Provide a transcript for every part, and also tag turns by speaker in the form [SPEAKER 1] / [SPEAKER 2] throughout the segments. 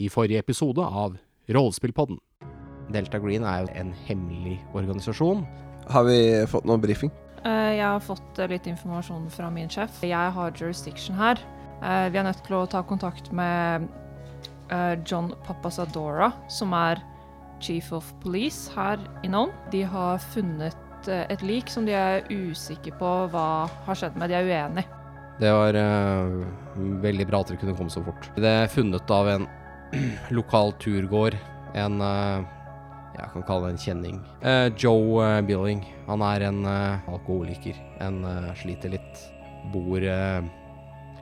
[SPEAKER 1] i forrige episode av Rollespillpodden. Delta Green er jo en hemmelig organisasjon.
[SPEAKER 2] Har vi fått noen briefing?
[SPEAKER 3] Eh, Jeg har fått eh, litt informasjon fra min sjef. Jeg har jurisdiction her. Eh, Vi er nødt til å ta kontakt med eh, John Papasadora, som er chief of police her i Nome. De har funnet eh, et lik som de er usikre på hva har skjedd med. De er uenige.
[SPEAKER 1] Det var eh, veldig bra at dere kunne komme så fort. Det er funnet av en lokal turgåer. En eh, jeg kan kalle det en kjenning. Eh, Joe eh, Billing. Han er en eh, alkoholiker. En eh, sliter litt. Bor eh,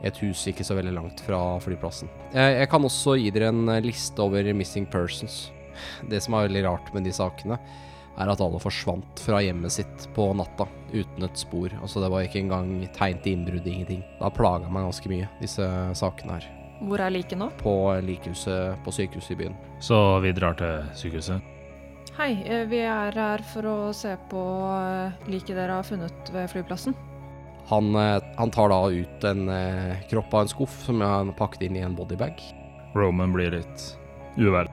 [SPEAKER 1] i et hus ikke så veldig langt fra flyplassen. Eh, jeg kan også gi dere en eh, liste over missing persons. Det som er veldig rart med de sakene, er at alle forsvant fra hjemmet sitt på natta uten et spor. Altså Det var ikke engang tegn til innbrudd, ingenting. Det har plaga meg ganske mye, disse sakene her.
[SPEAKER 3] Hvor er liket nå?
[SPEAKER 1] På likhuset på sykehuset i byen.
[SPEAKER 4] Så vi drar til sykehuset.
[SPEAKER 3] Hei, eh, vi er her for å se på eh, liket dere har funnet ved flyplassen.
[SPEAKER 1] Han, eh, han tar da ut en eh, kropp av en skuff som han pakket inn i en bodybag.
[SPEAKER 4] Roman blir litt uvel.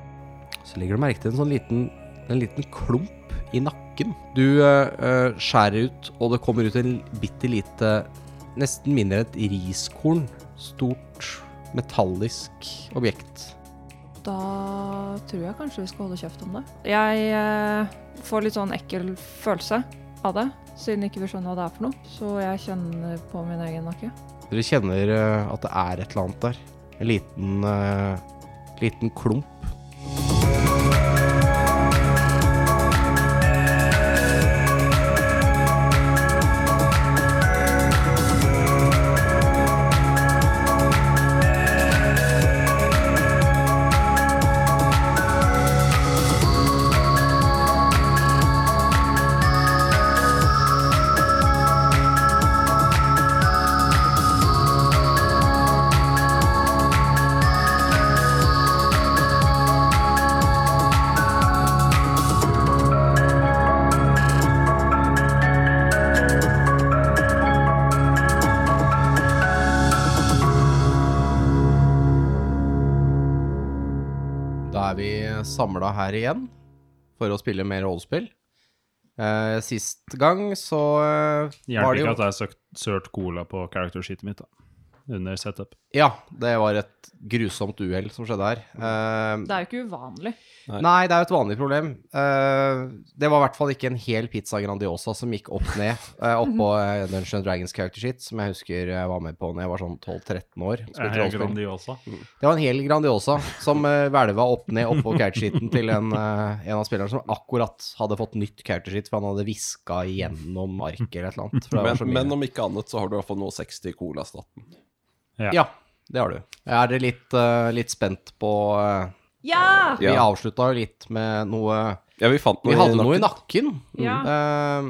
[SPEAKER 1] Så legger du merke til en sånn liten, en liten klump i nakken. Du eh, eh, skjærer ut, og det kommer ut en bitte lite Nesten mindre enn et riskorn. Stort, metallisk objekt.
[SPEAKER 3] Da tror jeg kanskje vi skal holde kjeft om det. Jeg eh, får litt sånn ekkel følelse av det, siden ikke vi skjønner hva det er for noe. Så jeg kjenner på min egen nakke.
[SPEAKER 1] Dere kjenner eh, at det er et eller annet der. En liten, eh, liten klump. Da er vi samla her igjen for å spille mer rollespill. Eh, sist gang så eh, var
[SPEAKER 4] Hjelper
[SPEAKER 1] det
[SPEAKER 4] ikke
[SPEAKER 1] jo
[SPEAKER 4] at jeg søkt- sølt cola på character sheetet mitt, da. Under setup.
[SPEAKER 1] Ja, det var et grusomt uhell som skjedde her. Eh,
[SPEAKER 3] Det er jo ikke uvanlig.
[SPEAKER 1] Nei, det er jo et vanlig problem. Eh, det var i hvert fall ikke en hel pizza Grandiosa som gikk opp ned eh, oppå uh, Dungeon Dragons character sheet, som jeg husker jeg var med på når jeg var sånn 12-13 år.
[SPEAKER 4] Jeg
[SPEAKER 1] Spilte
[SPEAKER 4] er sånn
[SPEAKER 1] rollespill.
[SPEAKER 4] grandiosa.
[SPEAKER 1] Det var en hel Grandiosa som uh, hvelva opp ned oppå couchsheeten til en, eh, en av spillerne som akkurat hadde fått nytt couchsheet, for han hadde viska igjennom arket eller et eller annet. For det var
[SPEAKER 2] Men,
[SPEAKER 1] så mye.
[SPEAKER 2] men om ikke annet så har du i hvert fall nå 60 i colastaten.
[SPEAKER 1] Ja, det har du. Jeg er litt, eh, litt spent på eh,
[SPEAKER 3] Ja!
[SPEAKER 1] Vi
[SPEAKER 2] Ja.
[SPEAKER 1] avslutta jo litt med noe
[SPEAKER 2] Ja, vi fant noe
[SPEAKER 1] Vi hadde noe i nakken.
[SPEAKER 3] Ja.
[SPEAKER 1] Eh,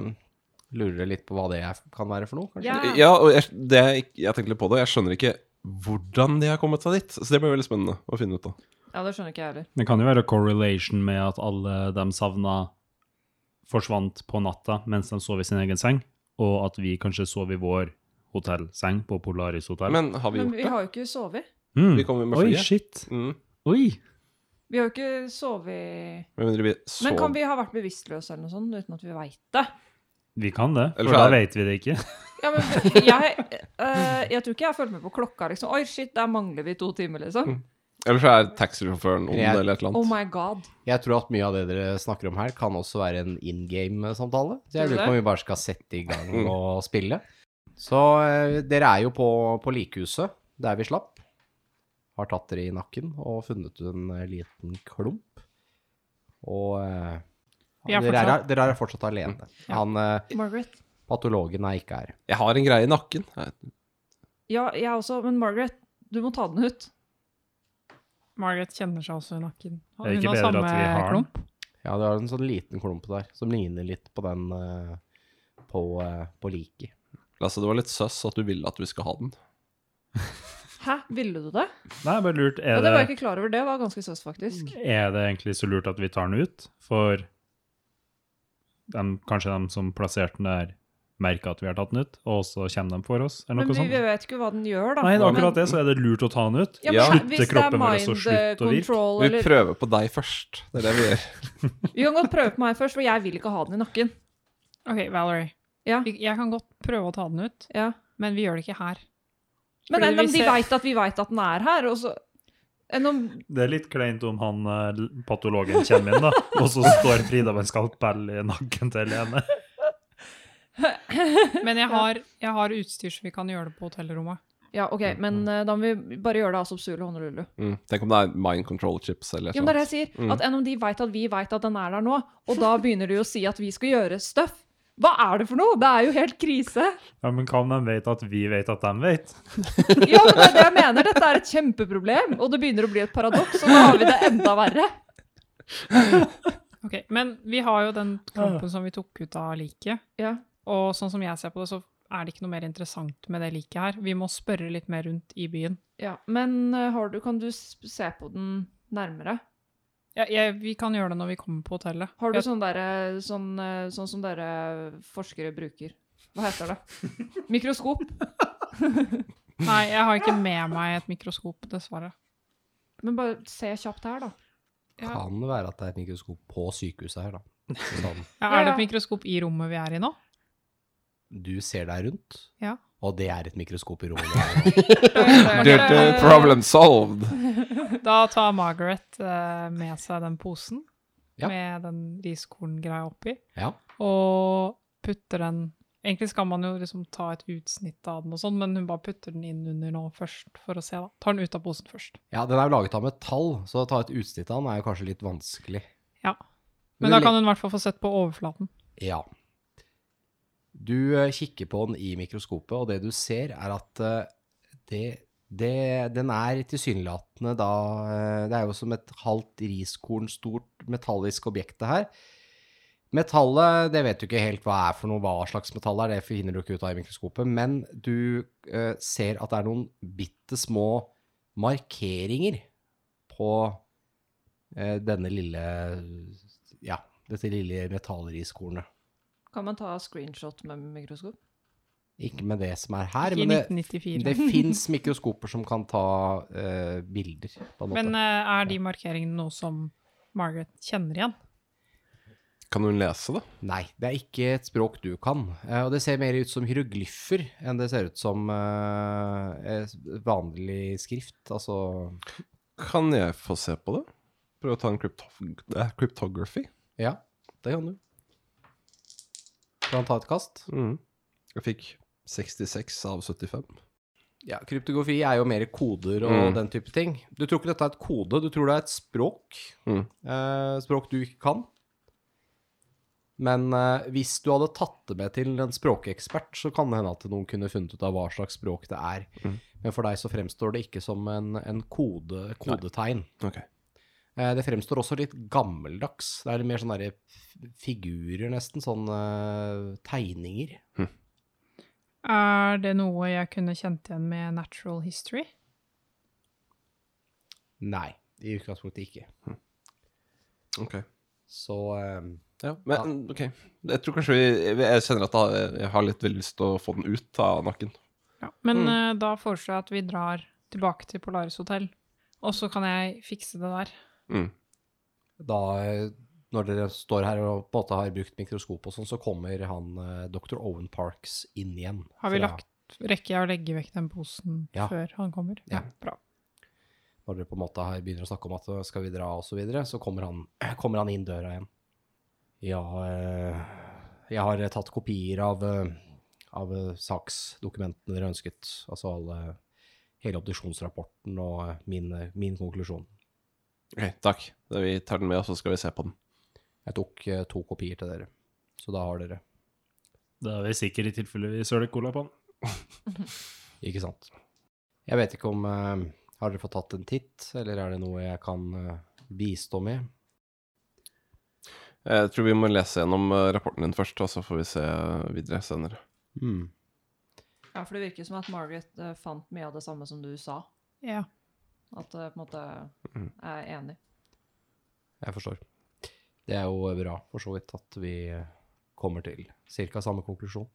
[SPEAKER 1] lurer litt på hva det er- kan være for noe, kanskje.
[SPEAKER 3] Ja.
[SPEAKER 2] Ja, og jeg, det, jeg ikke- jeg tenkte litt på det, jeg skjønner ikke hvordan de har kommet seg dit. Så det blir veldig spennende å finne ut av.
[SPEAKER 3] Ja, det skjønner ikke jeg heller.
[SPEAKER 4] Det kan jo være correlation med at alle de savna forsvant på natta mens de sov i sin egen seng, og at vi kanskje sov i vår hotellseng på Polaris hotell.
[SPEAKER 2] Men har vi
[SPEAKER 3] Men
[SPEAKER 2] gjort
[SPEAKER 3] vi
[SPEAKER 2] det?
[SPEAKER 3] har jo ikke sovet.
[SPEAKER 4] Mm.
[SPEAKER 2] Vi kommer med
[SPEAKER 4] Oi,
[SPEAKER 2] flyet.
[SPEAKER 4] shit.
[SPEAKER 2] Mm.
[SPEAKER 4] Oi.
[SPEAKER 3] Vi har jo ikke sovet
[SPEAKER 2] Med mindre vi sov
[SPEAKER 3] Men kan vi ha vært bevisstløse eller noe sånt uten at vi veit det?
[SPEAKER 4] Vi kan det,
[SPEAKER 2] Eller
[SPEAKER 4] for
[SPEAKER 2] så
[SPEAKER 4] da
[SPEAKER 2] er-
[SPEAKER 4] vet vi det ikke.
[SPEAKER 3] Ja, men jeg, eh, jeg tror ikke jeg har fulgt med på klokka, liksom. Oi, shit, der mangler vi to timer,
[SPEAKER 2] Mm.
[SPEAKER 3] liksom.
[SPEAKER 2] Eller så er taxisjåføren ond
[SPEAKER 1] Jeg-
[SPEAKER 2] eller et eller annet.
[SPEAKER 3] Oh my god.
[SPEAKER 1] Jeg tror at mye av det dere snakker om her, kan også være en in game-samtale. Så jeg
[SPEAKER 3] Tror du
[SPEAKER 1] lurer på
[SPEAKER 3] det?
[SPEAKER 1] om vi bare skal sette i gang
[SPEAKER 2] Mm.
[SPEAKER 1] og spille. Så eh, dere er jo på, på likhuset, der vi slapp. Har tatt dere i nakken og funnet en eh, liten klump. Og eh,
[SPEAKER 3] Vi er
[SPEAKER 1] dere, er,
[SPEAKER 3] fortsatt- Mm.
[SPEAKER 1] dere er fortsatt alene. Han, eh,
[SPEAKER 3] Margaret.
[SPEAKER 1] patologen er ikke her.
[SPEAKER 2] Jeg har en greie i nakken. Jeg-
[SPEAKER 3] Ja, jeg også, men Margaret, du må ta den ut.
[SPEAKER 5] Margaret kjenner seg også i nakken.
[SPEAKER 4] Det er ikke bedre at vi har den.
[SPEAKER 1] Ja, det er en sånn liten klump der, som ligner litt på den eh, på, eh, på liket.
[SPEAKER 2] Lasse, det var litt søss at du ville at vi skal ha den.
[SPEAKER 3] Hæ, ville du det?
[SPEAKER 4] Nei, jeg bare lurt,
[SPEAKER 3] Ja,
[SPEAKER 4] er
[SPEAKER 3] det var jeg
[SPEAKER 4] det,
[SPEAKER 3] ikke klar over. Det var ganske søs, faktisk.
[SPEAKER 4] er det egentlig så lurt at vi tar den ut? For dem- kanskje de som plasserte den der, merker at vi har tatt den ut, og så kommer de for oss, eller
[SPEAKER 3] Men
[SPEAKER 4] noe
[SPEAKER 3] vi, vi
[SPEAKER 4] sånt.
[SPEAKER 3] vet ikke hva den gjør, da.
[SPEAKER 4] sånn- Nei, det er
[SPEAKER 3] Men-
[SPEAKER 4] akkurat det, så er det lurt å ta den ut.
[SPEAKER 3] Ja, men
[SPEAKER 2] Ja.
[SPEAKER 3] her-
[SPEAKER 4] Slutte
[SPEAKER 3] hvis det er
[SPEAKER 4] kroppen vår også,
[SPEAKER 3] mind
[SPEAKER 4] slutt å virke.
[SPEAKER 3] control,
[SPEAKER 2] Vi
[SPEAKER 3] eller
[SPEAKER 2] prøver på deg først. Det er det vi gjør.
[SPEAKER 3] Vi kan godt prøve på meg først, for jeg vil ikke ha den i nakken.
[SPEAKER 5] OK, Valerie.
[SPEAKER 3] Ja.
[SPEAKER 5] Vi- Jeg kan godt prøve å ta den ut,
[SPEAKER 3] Ja.
[SPEAKER 5] men vi gjør det ikke her.
[SPEAKER 3] Men
[SPEAKER 5] Fordi
[SPEAKER 3] enn om
[SPEAKER 5] vi
[SPEAKER 3] de
[SPEAKER 5] ser-
[SPEAKER 3] veit at vi veit at den er her, og så Enn om
[SPEAKER 4] Det er litt kleint om han eh, l- patologen kommer inn, da, og så står Frida med en skalpell i nakken til Lene.
[SPEAKER 5] Men jeg har, jeg har utstyr så vi kan gjøre det på hotellrommet.
[SPEAKER 3] Ja, OK, men eh, da må vi bare gjøre det av subsule honolulu.
[SPEAKER 2] Mm. Tenk om det er mind control chips eller
[SPEAKER 3] Ja, men det er
[SPEAKER 2] noe
[SPEAKER 3] det jeg sier. At enn om de veit at vi veit at den er der nå, og da begynner de å si at vi skal gjøre stuff. Hva er det for noe?! Det er jo helt krise!
[SPEAKER 4] Ja, men hva om de vet at vi vet at de vet?
[SPEAKER 3] Ja, men det er det jeg mener. Dette er et kjempeproblem, og det begynner å bli et paradoks, og da har vi det enda verre.
[SPEAKER 5] Ok, Men vi har jo den klumpen som vi tok ut av liket.
[SPEAKER 3] Ja.
[SPEAKER 5] Og sånn som jeg ser på det, så er det ikke noe mer interessant med det liket her. Vi må spørre litt mer rundt i byen.
[SPEAKER 3] Ja, men eh, har du, kan du s- se på den nærmere?
[SPEAKER 5] Ja, jeg, vi kan gjøre det når vi kommer på hotellet.
[SPEAKER 3] Har du
[SPEAKER 5] Jeg-
[SPEAKER 3] sånn, derre- sånn, eh, sånn som dere forskere bruker? Hva heter det? Mikroskop?
[SPEAKER 5] Nei, jeg har ikke med meg et mikroskop, dessverre.
[SPEAKER 3] Men bare se kjapt her, da.
[SPEAKER 5] Ja.
[SPEAKER 1] Kan det være at det er et mikroskop på sykehuset her, da. Sånn,
[SPEAKER 5] Ja, er
[SPEAKER 3] Ja.
[SPEAKER 5] det et mikroskop i rommet vi er i nå?
[SPEAKER 1] du ser deg rundt,
[SPEAKER 5] Ja.
[SPEAKER 1] og det er et mikroskop i rommet.
[SPEAKER 2] Dirty problem solved.
[SPEAKER 5] Da tar Margaret eh, med seg den posen
[SPEAKER 1] Ja.
[SPEAKER 5] med den riskorngreia oppi,
[SPEAKER 1] Ja.
[SPEAKER 5] og putter den Egentlig skal man jo liksom ta et utsnitt av den, og sånn, men hun bare putter den inn under nå først, for å se. da. Tar den ut av posen først.
[SPEAKER 1] ja, den er jo laget av metall, så å ta et utsnitt av den er jo kanskje litt vanskelig.
[SPEAKER 5] Ja. Men da kan hun i hvert fall få sett på overflaten.
[SPEAKER 1] Ja. Du eh, kikker på den i mikroskopet, og det du ser er at eh, det, det, den er tilsynelatende da eh, Det er jo som et halvt riskorn stort metallisk objekt det her. Metallet, det vet du ikke helt hva er for noe, hva slags metall det er, det finner du ikke ut av i mikroskopet, men du eh, ser at det er noen bitte små markeringer på eh, denne lille Ja, dette lille metallriskornet.
[SPEAKER 3] Kan man ta screenshot med mikroskop?
[SPEAKER 1] Ikke med det som er her,
[SPEAKER 5] I
[SPEAKER 1] men det,
[SPEAKER 5] 1994.
[SPEAKER 1] det fins mikroskoper som kan ta eh, bilder, på en måte.
[SPEAKER 5] Men eh, er de markeringene noe som Margaret kjenner igjen?
[SPEAKER 2] Kan hun lese, da?
[SPEAKER 1] Nei, det er ikke et språk du kan. Eh, Og det ser mer ut som hieroglyffer enn det ser ut som eh, eh, vanlig skrift. Altså
[SPEAKER 2] Kan jeg få se på det? Prøve å ta en kryptof eh, cryptography.
[SPEAKER 1] Ja, det kan du. Kan ta et kast?
[SPEAKER 2] Mm. Jeg fikk 66 av 75.
[SPEAKER 1] Ja, kryptografi er jo mer koder og
[SPEAKER 2] Mm.
[SPEAKER 1] den type ting. Du tror ikke dette er et kode, du tror det er et språk.
[SPEAKER 2] Mm.
[SPEAKER 1] Eh, språk du ikke kan. Men eh, hvis du hadde tatt det med til en språkekspert, så kan det hende at noen kunne funnet ut av hva slags språk det er.
[SPEAKER 2] Mm.
[SPEAKER 1] Men for deg så fremstår det ikke som en, en kode, kodetegn.
[SPEAKER 2] Ok.
[SPEAKER 1] Eh, det fremstår også litt gammeldags. Det er litt mer sånne der f- figurer, nesten. Sånne eh, tegninger.
[SPEAKER 5] Er det noe jeg kunne kjent igjen med natural history?
[SPEAKER 1] Nei, i utgangspunktet ikke.
[SPEAKER 2] ok.
[SPEAKER 1] Så eh,
[SPEAKER 2] Ja, men ok. Jeg tror kanskje vi Jeg jeg kjenner at da- jeg har litt veldig lyst til å få den ut av nakken.
[SPEAKER 5] Ja, men
[SPEAKER 1] Mm.
[SPEAKER 5] eh, da foreslår jeg at vi drar tilbake til Polaris hotell, og så kan jeg fikse det der.
[SPEAKER 2] Mm.
[SPEAKER 1] da eh, når dere står her og på en måte har brukt mikroskop og sånn, så kommer han eh, dr. Owen Parks inn igjen.
[SPEAKER 5] Har vi
[SPEAKER 1] fra-
[SPEAKER 5] lagt, rekker jeg å legge vekk den posen
[SPEAKER 1] Ja.
[SPEAKER 5] før han kommer?
[SPEAKER 1] Ja.
[SPEAKER 5] bra.
[SPEAKER 1] Når dere på en måte har- begynner å snakke om at eh, skal vi dra og så videre, så kommer han, kommer han inn døra igjen. Ja, eh, jeg har eh, tatt kopier av, eh, av eh, saksdokumentene dere ønsket. Altså alle, hele obduksjonsrapporten og eh, min, eh, min konklusjon.
[SPEAKER 2] Ok, takk. Da vi tar den med, og så skal vi se på den.
[SPEAKER 1] Jeg tok eh, to kopier til dere, så da har dere.
[SPEAKER 4] Da er vi sikre i tilfelle vi søler cola på den.
[SPEAKER 1] Ikke sant. Jeg vet ikke om eh, Har dere fått tatt en titt, eller er det noe jeg kan eh, bistå med?
[SPEAKER 2] Jeg tror vi må lese gjennom eh, rapporten din først, og så får vi se videre senere.
[SPEAKER 1] Hmm.
[SPEAKER 3] Ja, for det virker som at Margaret eh, fant mye av det samme som du sa.
[SPEAKER 5] Ja.
[SPEAKER 3] At det på en måte er enig.
[SPEAKER 1] Jeg forstår. Det er jo bra, for så vidt, at vi eh, kommer til ca. samme konklusjon.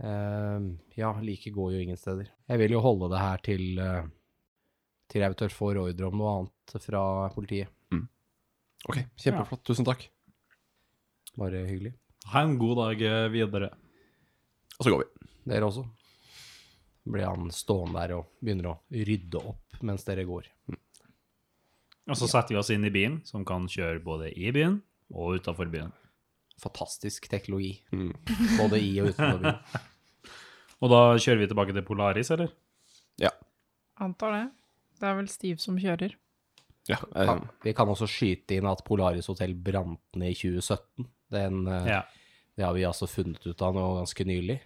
[SPEAKER 1] Ehm, ja, like går jo ingen steder. Jeg vil jo holde det her til, eh, til jeg eventuelt får ordre om noe annet fra politiet.
[SPEAKER 2] Ok, kjempeflott. Tusen takk.
[SPEAKER 1] Bare hyggelig.
[SPEAKER 4] Ha en god dag eh, videre.
[SPEAKER 2] Og så går vi.
[SPEAKER 1] Dere også. Blir han stående der og begynner å rydde opp mens dere går.
[SPEAKER 4] Og så setter vi oss inn i bilen, som kan kjøre både i byen og utafor byen.
[SPEAKER 1] Fantastisk teknologi.
[SPEAKER 2] Mm.
[SPEAKER 1] Både i og utenfor byen.
[SPEAKER 4] Og da kjører vi tilbake til Polaris, eller?
[SPEAKER 2] Ja.
[SPEAKER 5] Antar det. Det er vel Steve som kjører.
[SPEAKER 2] ja
[SPEAKER 1] Kan,
[SPEAKER 2] eh,
[SPEAKER 1] vi kan også skyte inn at Polaris Hotel brant ned i 2017. Den, eh,
[SPEAKER 4] Ja.
[SPEAKER 1] Det har vi altså funnet ut av nå ganske nylig.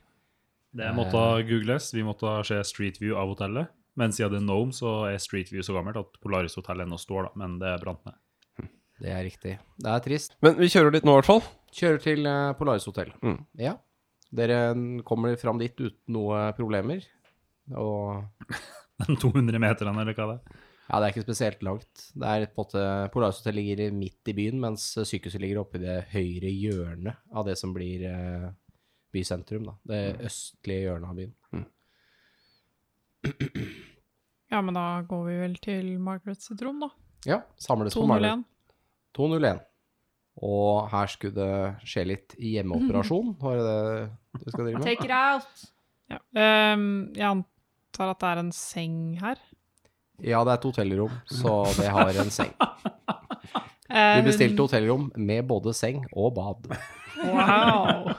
[SPEAKER 4] Det måtte googles. Vi måtte se Street View av hotellet. Men siden det er Nome, så er Street View så gammelt at Polaris hotell ennå står, da. Men det brant ned.
[SPEAKER 1] Det er riktig. Det er trist.
[SPEAKER 2] Men vi kjører dit nå, i hvert fall.
[SPEAKER 1] Kjører til eh, Polaris Hotel.
[SPEAKER 2] Mm.
[SPEAKER 1] Ja. Dere kommer fram dit uten noe problemer. Og
[SPEAKER 4] Den 200 meterne, eller hva det er.
[SPEAKER 1] Ja, det er ikke spesielt langt. Det er på en måte, Polaris Hotel ligger midt i byen, mens sykehuset ligger oppe i det høyre hjørnet av det som blir eh, bysentrum. da. Det østlige hjørnet av byen.
[SPEAKER 5] Ja, men da går vi vel til Margarets sitt rom, da.
[SPEAKER 1] Ja, samles på Margaret.
[SPEAKER 5] 201.
[SPEAKER 1] 201. Og her skulle det skje litt hjemmeoperasjon, var det det du skal drive med?
[SPEAKER 3] Take it out!
[SPEAKER 5] Ja. Ehm, jeg antar at det er en seng her.
[SPEAKER 1] Ja, det er et hotellrom, så det har en seng.
[SPEAKER 5] Eh,
[SPEAKER 1] Vi bestilte hotellrom med både seng og bad.
[SPEAKER 5] Wow!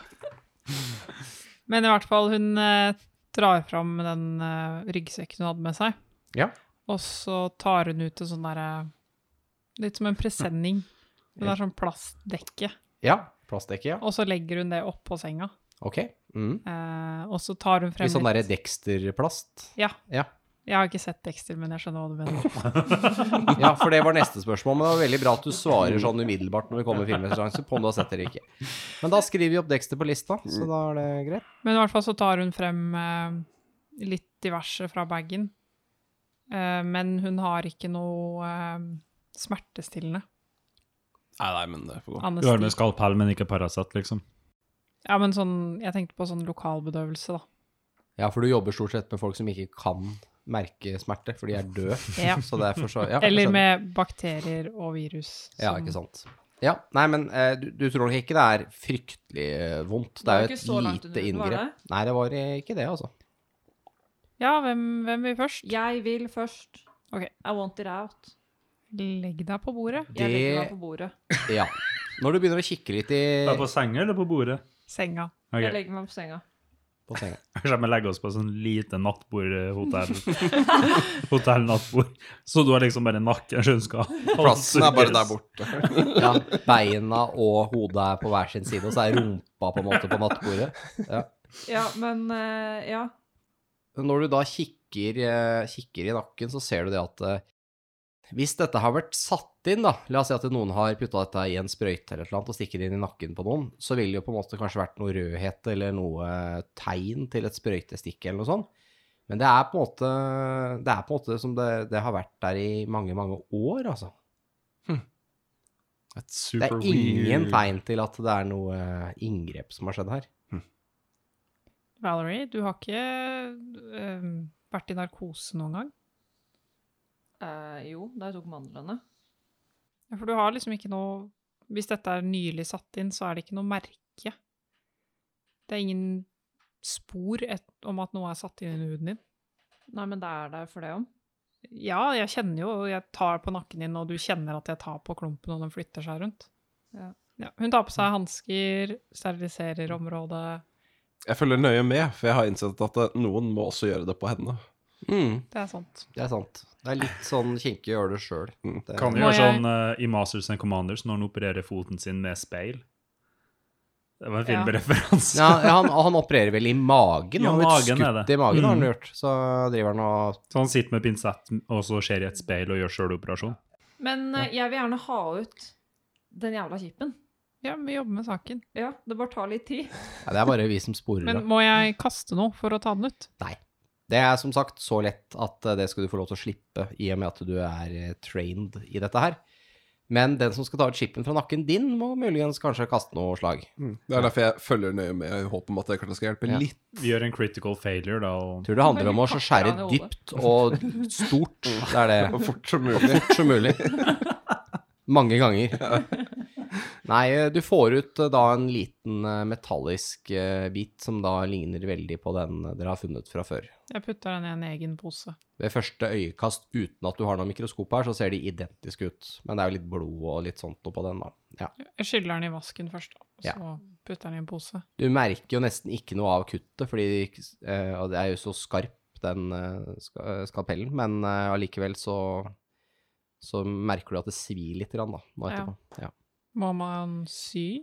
[SPEAKER 5] Men i hvert fall, hun eh, drar fram den eh, ryggsekken hun hadde med seg.
[SPEAKER 1] Ja.
[SPEAKER 5] Og så tar hun ut en sånn derre Litt som en presenning. Men det er sånn plastdekke.
[SPEAKER 1] Ja, plastdekke, ja.
[SPEAKER 5] Og så legger hun det oppå senga.
[SPEAKER 1] Ok. Mm.
[SPEAKER 5] Eh, og så tar hun frem
[SPEAKER 1] Litt sånn
[SPEAKER 5] litt-
[SPEAKER 1] derre Dexter-plast.
[SPEAKER 5] Ja.
[SPEAKER 1] Ja.
[SPEAKER 5] Jeg har ikke sett Dexter, men jeg skjønner hva du mener.
[SPEAKER 1] Ja, for det var neste spørsmål, men det var veldig bra at du svarer sånn umiddelbart når vi kommer med filmreferanse på om du har sett det eller ikke. Men da skriver vi opp Dexter på lista, så da er det greit.
[SPEAKER 5] Men i hvert fall så tar hun frem eh, litt diverse fra bagen. Eh, men hun har ikke noe eh, smertestillende.
[SPEAKER 2] Nei, nei, men det får gå.
[SPEAKER 4] Du har
[SPEAKER 5] Anestesi.
[SPEAKER 4] med skalpell, men ikke Paracet, liksom.
[SPEAKER 5] Ja, men sånn, jeg tenkte på sånn lokalbedøvelse, da.
[SPEAKER 1] Ja, for du jobber stort sett med folk som ikke kan merke smerte, for de er døde.
[SPEAKER 5] Ja.
[SPEAKER 1] Så derfor så ja, jeg
[SPEAKER 5] Eller
[SPEAKER 1] skjønner.
[SPEAKER 5] med bakterier og virus. sånn.
[SPEAKER 1] Ja,
[SPEAKER 5] som-
[SPEAKER 1] ikke sant. Ja, nei, men eh, du, du tror nok ikke det er fryktelig eh, vondt. Det er
[SPEAKER 3] var
[SPEAKER 1] jo
[SPEAKER 3] ikke
[SPEAKER 1] et
[SPEAKER 3] så langt under
[SPEAKER 1] lite
[SPEAKER 3] huden, var det?
[SPEAKER 1] inngrep. Nei, det var eh, ikke det, altså.
[SPEAKER 5] Ja, hvem, hvem vil først?
[SPEAKER 3] Jeg vil først.
[SPEAKER 5] Ok.
[SPEAKER 3] I want it out.
[SPEAKER 5] Legg deg på bordet.
[SPEAKER 3] Jeg
[SPEAKER 1] Det-
[SPEAKER 3] legger meg på bordet.
[SPEAKER 1] Ja. Når du begynner å kikke litt i
[SPEAKER 4] på senga eller på bordet?
[SPEAKER 5] Senga.
[SPEAKER 4] Ok,
[SPEAKER 3] Jeg legger meg på senga.
[SPEAKER 1] på senga.
[SPEAKER 4] Kanskje vi legger oss på sånn lite nattbordhotell. Hotell-nattbord. Så du har liksom bare nakken skjønnska.
[SPEAKER 2] Plassen er bare der borte.
[SPEAKER 1] Ja, beina og hodet er på hver sin side, og så er rumpa på en måte på nattbordet.
[SPEAKER 3] Ja, men eh, ja.
[SPEAKER 1] Når du da kikker, eh, kikker i nakken, så ser du det at eh, hvis dette har vært satt inn, da, la oss si at noen har putta dette i en sprøyte eller et eller annet og stikker det inn i nakken på noen, så ville det jo på en måte kanskje vært noe rødhet eller noe tegn til et sprøytestikk eller noe sånt. Men det er på en måte, det er på en måte som det, det har vært der i mange, mange år, altså.
[SPEAKER 2] Et
[SPEAKER 1] Det
[SPEAKER 2] super
[SPEAKER 1] er ingen
[SPEAKER 2] weird-
[SPEAKER 1] tegn til at det er noe eh, inngrep som har skjedd her.
[SPEAKER 5] Valerie, du har ikke eh, vært i narkose noen gang.
[SPEAKER 3] Eh, jo, da jeg tok mandlene.
[SPEAKER 5] Ja, For du har liksom ikke noe Hvis dette er nylig satt inn, så er det ikke noe merke. Det er ingen spor et, om at noe er satt inn i huden din.
[SPEAKER 3] Nei, men det er der for det om.
[SPEAKER 5] Ja, jeg kjenner jo, og jeg tar på nakken din, og du kjenner at jeg tar på klumpen, og den flytter seg rundt.
[SPEAKER 3] Ja.
[SPEAKER 5] Ja, hun tar på seg hansker, steriliserer området.
[SPEAKER 2] Jeg følger nøye med, for jeg har innsett at eh, noen må også gjøre det på henne.
[SPEAKER 1] Mm.
[SPEAKER 5] Det er sant.
[SPEAKER 1] Det er sant. Det er litt sånn kinkig å gjøre det sjøl.
[SPEAKER 2] Mm.
[SPEAKER 1] Det-
[SPEAKER 4] Kan
[SPEAKER 5] Må
[SPEAKER 4] gjøre
[SPEAKER 5] jeg-
[SPEAKER 4] sånn eh, i Masters and Commanders når han opererer foten sin med speil. Det var en
[SPEAKER 5] Ja.
[SPEAKER 4] filmreferanse.
[SPEAKER 1] Ja, han, han opererer vel i magen?
[SPEAKER 4] Ja,
[SPEAKER 1] han har blitt
[SPEAKER 4] magen er
[SPEAKER 1] skutt
[SPEAKER 4] det.
[SPEAKER 1] i magen, har han
[SPEAKER 4] Mm.
[SPEAKER 1] gjort. Så driver han og
[SPEAKER 4] Så han sitter med pinsett og så ser i et speil og gjør sjøl operasjon.
[SPEAKER 3] Men eh, jeg vil gjerne ha ut den jævla kippen.
[SPEAKER 5] Ja, vi jobber med saken.
[SPEAKER 3] Ja, det bare tar litt tid.
[SPEAKER 1] Nei, Det er bare vi som sporer
[SPEAKER 5] Men
[SPEAKER 1] det.
[SPEAKER 5] må jeg kaste noe for å ta den ut?
[SPEAKER 1] Nei. Det er som sagt så lett at eh, det skal du få lov til å slippe, i og med at du er eh, trained i dette her. Men den som skal ta ut chipen fra nakken din, må muligens kanskje kaste noe slag.
[SPEAKER 2] Det er derfor jeg følger nøye med i håp om at det kanskje skal hjelpe
[SPEAKER 1] Ja.
[SPEAKER 2] litt.
[SPEAKER 4] Vi gjør en critical failure, da, og
[SPEAKER 1] Tror det handler om å så skjære
[SPEAKER 3] Kaster han i hodet.
[SPEAKER 1] dypt og stort. Det er det.
[SPEAKER 2] Så fort som mulig.
[SPEAKER 1] Fort som mulig. Mange ganger. Nei, eh, du får ut eh, da en liten eh, metallisk eh, bit som da ligner veldig på den eh, dere har funnet fra før.
[SPEAKER 5] Jeg putter den i en egen pose.
[SPEAKER 1] Ved første øyekast, uten at du har noe mikroskop her, så ser de identiske ut. Men det er jo litt blod og litt sånt oppå den, da. Ja.
[SPEAKER 5] Jeg skyller den i vasken først, og
[SPEAKER 1] Ja.
[SPEAKER 5] så putter den i en pose.
[SPEAKER 1] Du merker jo nesten ikke noe av kuttet, fordi eh, og det er jo så skarp, den eh, ska- eh, skalpellen, men eh, allikevel så, så merker du at det svir litt, grann, da, nå
[SPEAKER 5] Ja.
[SPEAKER 1] etterpå. Ja.
[SPEAKER 5] Må man sy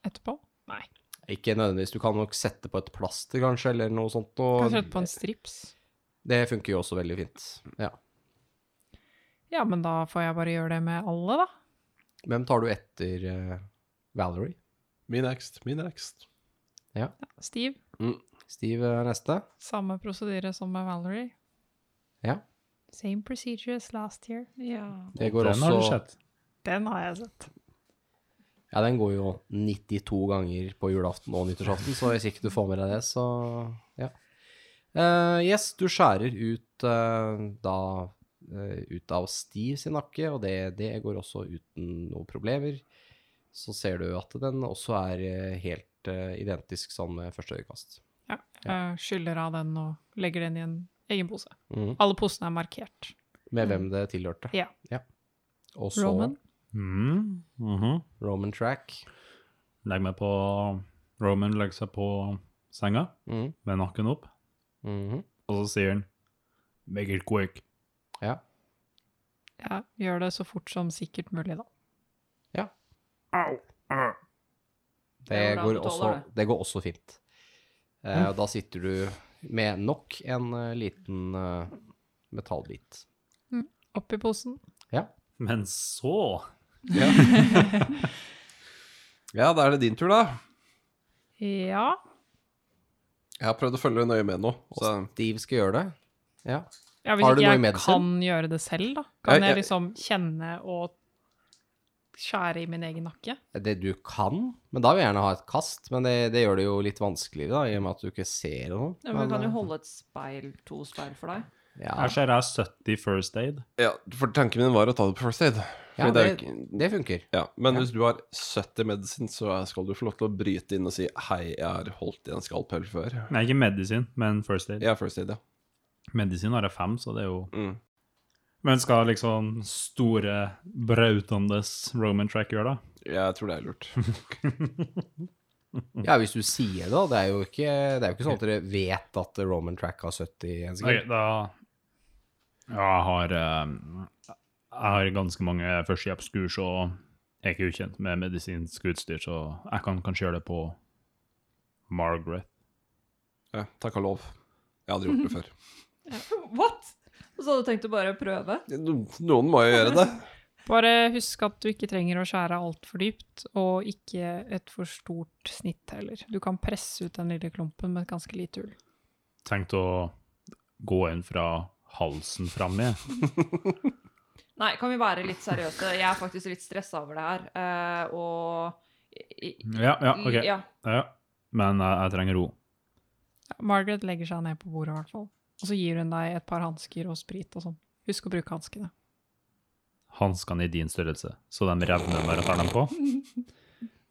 [SPEAKER 5] etterpå? Nei.
[SPEAKER 1] Ikke nødvendigvis. Du kan nok sette på et plaster, kanskje, eller noe sånt. Og
[SPEAKER 5] Kanskje etterpå en strips?
[SPEAKER 1] det funker jo også veldig fint. Ja.
[SPEAKER 5] Ja, men da får jeg bare gjøre det med alle, da.
[SPEAKER 1] Hvem tar du etter eh, Valerie?
[SPEAKER 2] Min ekst, min ekst.
[SPEAKER 5] Stiv.
[SPEAKER 1] Steve er neste.
[SPEAKER 5] Samme prosedyre som med Valerie.
[SPEAKER 1] Ja.
[SPEAKER 5] Same procedure as last year. Ja.
[SPEAKER 1] Det går
[SPEAKER 4] den har du
[SPEAKER 1] også
[SPEAKER 4] sett.
[SPEAKER 5] Den har jeg sett.
[SPEAKER 1] Ja, den går jo 92 ganger på julaften og nyttårsaften, så hvis ikke du får med deg det, så ja. Eh, yes, du skjærer ut eh, da eh, ut av Steve sin nakke, og det, det går også uten noen problemer. Så ser du at den også er eh, helt eh, identisk som med første øyekast.
[SPEAKER 5] Ja. Jeg Eh, skyller av den og legger den i en egen pose.
[SPEAKER 1] Mhm.
[SPEAKER 5] Alle posene er markert.
[SPEAKER 1] Med hvem det tilhørte.
[SPEAKER 5] Mm. Ja.
[SPEAKER 1] Og så
[SPEAKER 5] Roman.
[SPEAKER 4] Mm. mhm.
[SPEAKER 1] Roman Track.
[SPEAKER 4] Legg meg på Roman legger seg på senga
[SPEAKER 1] Mhm,
[SPEAKER 4] med nakken opp,
[SPEAKER 1] mhm.
[SPEAKER 4] og så sier han Make it quick.
[SPEAKER 1] Ja.
[SPEAKER 5] Ja, gjør det så fort som sikkert mulig, da.
[SPEAKER 1] Det,
[SPEAKER 3] Det går an
[SPEAKER 1] går
[SPEAKER 3] på tolv,
[SPEAKER 1] også,
[SPEAKER 3] er
[SPEAKER 1] det går også fint.
[SPEAKER 2] Mm.
[SPEAKER 1] Eh, da sitter du med nok en eh, liten eh, metallbit.
[SPEAKER 5] Opp i posen.
[SPEAKER 4] Men så
[SPEAKER 2] Ja. ja, da er det din tur, da.
[SPEAKER 5] Ja.
[SPEAKER 2] Jeg har prøvd å følge nøye med nå.
[SPEAKER 1] Og
[SPEAKER 2] Så
[SPEAKER 1] Steve skal gjøre det. Ja.
[SPEAKER 5] ja hvis
[SPEAKER 1] Har du
[SPEAKER 5] ikke
[SPEAKER 1] noe i
[SPEAKER 5] jeg
[SPEAKER 1] medisin?
[SPEAKER 5] kan gjøre det selv, da. Kan
[SPEAKER 2] Ja,
[SPEAKER 5] jeg
[SPEAKER 2] ja.
[SPEAKER 5] liksom kjenne og skjære i min egen nakke?
[SPEAKER 1] Eh, Det du kan, men da vil jeg gjerne ha et kast. Men det, det gjør det jo litt vanskeligere, da, i og med at du ikke ser noe.
[SPEAKER 3] Ja, men du kan
[SPEAKER 1] eh,
[SPEAKER 3] jo holde et speil, to speil for deg.
[SPEAKER 1] ja.
[SPEAKER 4] Her ser jeg 70 first aid.
[SPEAKER 2] ja, for tanken min var å ta det på first aid.
[SPEAKER 1] Ja,
[SPEAKER 2] Fordi det er jo
[SPEAKER 1] det,
[SPEAKER 2] ikke-
[SPEAKER 1] det funker.
[SPEAKER 2] Ja, men hvis du har 70 medisin, så skal du få lov til å bryte inn og si 'hei, jeg har holdt i en skalpell før'.
[SPEAKER 4] Nei, ikke medisin, men first aid.
[SPEAKER 2] Jeg er first aid, ja.
[SPEAKER 4] Medisin har jeg fem, så det er jo
[SPEAKER 2] Mm.
[SPEAKER 4] Men skal liksom store, brautandes Roman track gjøre det?
[SPEAKER 2] Jeg tror det er lurt. Mm.
[SPEAKER 1] Ja, hvis du sier det, da. Det er jo ikke, det er jo ikke sånn at dere vet at Roman Track har 70 en sekund.
[SPEAKER 4] Ok, da Ja, jeg har eh, Jeg har ganske mange førstehjelpskurs, og jeg er ikke ukjent med medisinsk utstyr, så jeg kan kanskje gjøre det på Margaret.
[SPEAKER 2] Ja, takk og lov. Jeg hadde gjort det før.
[SPEAKER 3] What?! Og så hadde du tenkt å bare prøve?
[SPEAKER 2] No- Noen må jo gjøre det.
[SPEAKER 5] Bare husk at du ikke trenger å skjære altfor dypt, og ikke et for stort snitt heller. Du kan presse ut den lille klumpen med et ganske lite hull.
[SPEAKER 4] Tenkt å gå inn fra halsen fram i.
[SPEAKER 3] Nei, kan vi være litt seriøse? Jeg er faktisk litt stressa over det her. eh, og i- i-
[SPEAKER 4] Ja, ja, OK.
[SPEAKER 3] Ja.
[SPEAKER 4] Ja. Men eh, jeg, jeg trenger ro.
[SPEAKER 5] Ja, Margaret legger seg ned på bordet, i hvert fall. Og så gir hun deg et par hansker og sprit og sånn. Husk å bruke hanskene.
[SPEAKER 4] hanskene i din størrelse, så de revner når jeg tar dem på.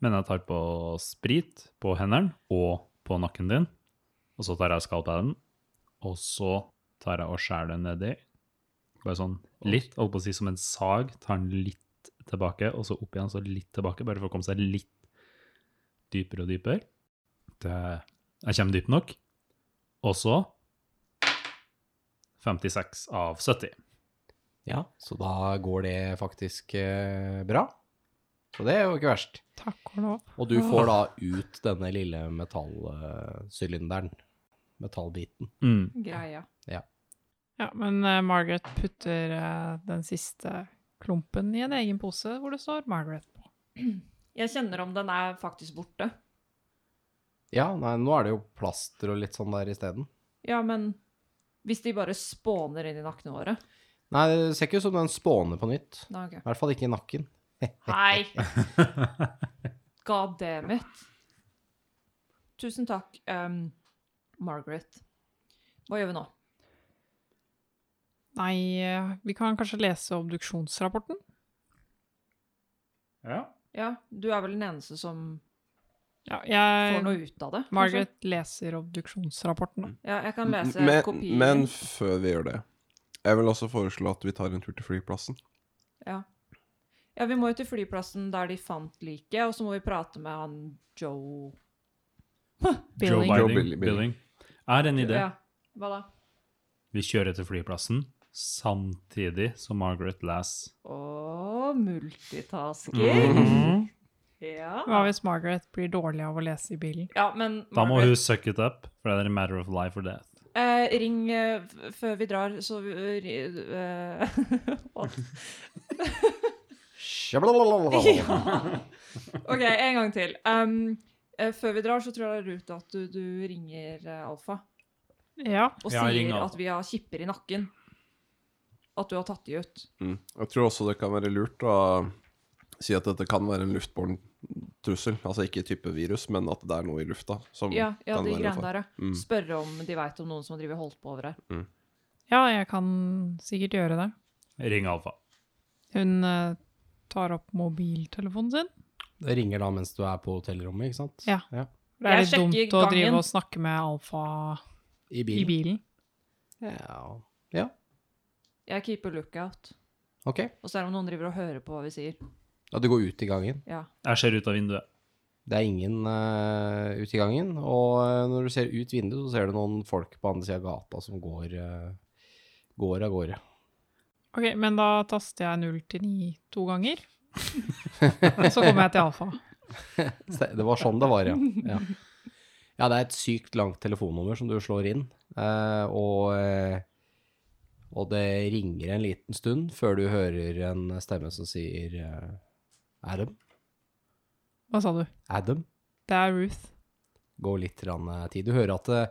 [SPEAKER 4] Men jeg tar på sprit på hendene og på nakken din, og så tar jeg skalpellen, og så tar jeg og skjærer den nedi. Bare sånn litt, holdt på å si som en sag, tar den litt tilbake, og så opp igjen, så litt tilbake, bare for å komme seg litt dypere og dypere. Det, jeg kommer dypt nok. Og så 56 av 70.
[SPEAKER 1] Ja, så da går det faktisk eh, bra. Så det er jo ikke verst.
[SPEAKER 5] Takk og lov.
[SPEAKER 1] Og du får da ut denne lille metallsylinderen. Metallbiten.
[SPEAKER 4] Mm.
[SPEAKER 3] Greia.
[SPEAKER 5] Ja, men eh, Margaret putter eh, den siste klumpen i en egen pose hvor det står Margaret på.
[SPEAKER 3] Jeg kjenner om den er faktisk borte.
[SPEAKER 1] Ja, nei, nå er det jo plaster og litt sånn der isteden.
[SPEAKER 3] Ja, men hvis de bare spåner inn i nakkene våre
[SPEAKER 1] Nei, det ser ikke ut som den spåner på nytt.
[SPEAKER 3] Nei, ok.
[SPEAKER 1] I hvert fall ikke i nakken.
[SPEAKER 3] Hei! God damn it. Tusen takk, ehm, Margaret. Hva gjør vi nå?
[SPEAKER 5] Nei, eh, vi kan kanskje lese obduksjonsrapporten?
[SPEAKER 4] Ja.
[SPEAKER 3] Ja, du er vel den eneste som
[SPEAKER 5] Ja,
[SPEAKER 3] får
[SPEAKER 5] jeg,
[SPEAKER 3] noe ut av det? kanskje?
[SPEAKER 5] Margaret leser obduksjonsrapporten. da.
[SPEAKER 3] Ja, jeg kan lese
[SPEAKER 2] men,
[SPEAKER 3] kopier.
[SPEAKER 2] men før vi gjør det, jeg vil også foreslå at vi tar en tur til flyplassen.
[SPEAKER 3] Ja. ja, vi må jo til flyplassen der de fant liket, og så må vi prate med han Joe
[SPEAKER 4] Joe
[SPEAKER 5] Billing.
[SPEAKER 2] Biden.
[SPEAKER 4] Billing.
[SPEAKER 2] Billing.
[SPEAKER 4] Billing. Er en idé.
[SPEAKER 3] Ja, hva da?
[SPEAKER 4] Vi kjører til flyplassen samtidig som Margaret Lass.
[SPEAKER 3] Å,
[SPEAKER 4] Mm.
[SPEAKER 3] multitasking!
[SPEAKER 5] Hva
[SPEAKER 3] Ja.
[SPEAKER 5] hvis Margaret blir dårlig av å lese i bilen?
[SPEAKER 3] ja, men
[SPEAKER 4] Da må
[SPEAKER 3] Margaret,
[SPEAKER 4] hun suck it up, for det er a matter of life or death.
[SPEAKER 3] eh, ring eh, f- før vi drar, så vi, eh,
[SPEAKER 1] Shablalalala.
[SPEAKER 3] OK, en gang til. Um, eh, før vi drar, så tror jeg det er lurt at du, du ringer eh, Alfa
[SPEAKER 5] Ja.
[SPEAKER 3] og
[SPEAKER 4] Ja, ring
[SPEAKER 3] sier
[SPEAKER 4] Alfa.
[SPEAKER 3] at vi har kipper i nakken. At du har tatt de ut.
[SPEAKER 2] Mm. Jeg tror også det kan være lurt å si at dette kan være en luftbåren trussel. Altså ikke type virus, men at det er noe i lufta som
[SPEAKER 3] Ja, ja
[SPEAKER 2] kan
[SPEAKER 3] de
[SPEAKER 2] være en
[SPEAKER 3] greiene
[SPEAKER 2] fare.
[SPEAKER 3] der, ja.
[SPEAKER 2] Mm.
[SPEAKER 3] Spørre om de veit om noen som har drevet og holdt på over her.
[SPEAKER 5] ja, jeg kan sikkert gjøre det.
[SPEAKER 4] Ring Alfa.
[SPEAKER 5] Hun eh, tar opp mobiltelefonen sin.
[SPEAKER 1] Det ringer da mens du er på hotellrommet, ikke sant?
[SPEAKER 5] Ja.
[SPEAKER 1] ja.
[SPEAKER 5] Det er
[SPEAKER 3] Jeg
[SPEAKER 5] litt
[SPEAKER 3] sjekker
[SPEAKER 5] dumt å
[SPEAKER 3] gangen.
[SPEAKER 5] drive og snakke med Alfa
[SPEAKER 1] I
[SPEAKER 5] i
[SPEAKER 1] bilen.
[SPEAKER 5] bilen.
[SPEAKER 1] Ja. ja.
[SPEAKER 3] Jeg keeper lookout.
[SPEAKER 1] Ok.
[SPEAKER 3] Og så er det om noen driver og hører på hva vi sier.
[SPEAKER 1] Ja, du går ut i gangen.
[SPEAKER 3] Ja.
[SPEAKER 4] Jeg ser ut av vinduet.
[SPEAKER 1] Det er ingen eh, ute i gangen. Og eh, når du ser ut vinduet, så ser du noen folk på andre sida av gata som går, eh, går av gårde.
[SPEAKER 5] Ok, men da taster jeg 0 til 9 to ganger. Så kommer jeg til Alfa.
[SPEAKER 1] Se- Det var sånn det var, ja. ja. Ja, det er et sykt langt telefonnummer som du slår inn, eh, og, eh, og det ringer en liten stund før du hører en stemme som sier eh, Adam,
[SPEAKER 5] Hva sa du?
[SPEAKER 1] Adam,
[SPEAKER 5] Det er Ruth.
[SPEAKER 1] gå litt grann, eh, tid. Du hører at det,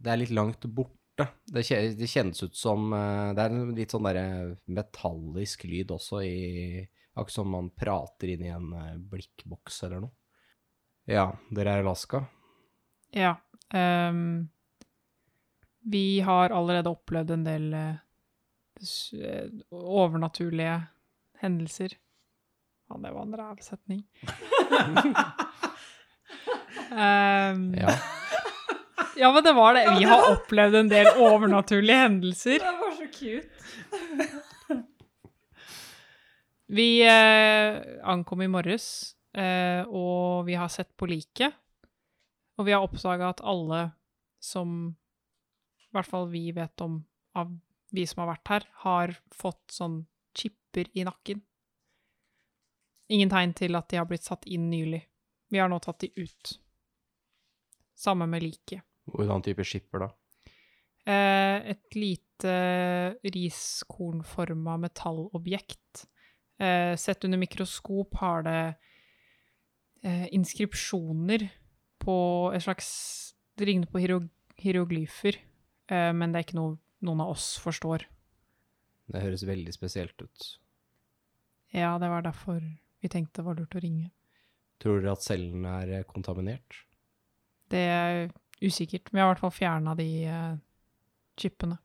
[SPEAKER 1] det er litt langt borte. Det, kje- det kjennes ut som eh, Det er en litt sånn derre metallisk lyd også i Akkurat som man prater inn i en eh, blikkboks eller noe. Ja, dere er i Alaska.
[SPEAKER 5] Ja. ehm, vi har allerede opplevd en del eh, s- eh, overnaturlige hendelser. Ja, det var en ræv setning. Ehm, ja.
[SPEAKER 1] Ja.
[SPEAKER 5] men det var det. Vi har opplevd en del overnaturlige hendelser.
[SPEAKER 3] Det var så cute.
[SPEAKER 5] Vi eh, ankom i morges, eh, og vi har sett på liket. Og vi har oppdaga at alle som I hvert fall vi vet om av vi som har vært her, har fått sånn chipper i nakken. Ingen tegn til at de har blitt satt inn nylig. Vi har nå tatt de ut. Samme med liket.
[SPEAKER 1] Hvordan type skipper da?
[SPEAKER 5] Eh, et lite riskornforma metallobjekt. Eh, sett under mikroskop har det eh, inskripsjoner på et slags Det ligner på hiero hieroglyfer, eh, men det er ikke noe noen av oss forstår.
[SPEAKER 1] Det høres veldig spesielt ut.
[SPEAKER 5] Ja, det var derfor vi tenkte det var lurt å ringe.
[SPEAKER 1] Tror dere at cellene er eh, kontaminert?
[SPEAKER 5] Det er usikkert. Vi har i hvert fall fjerna de eh, chipene.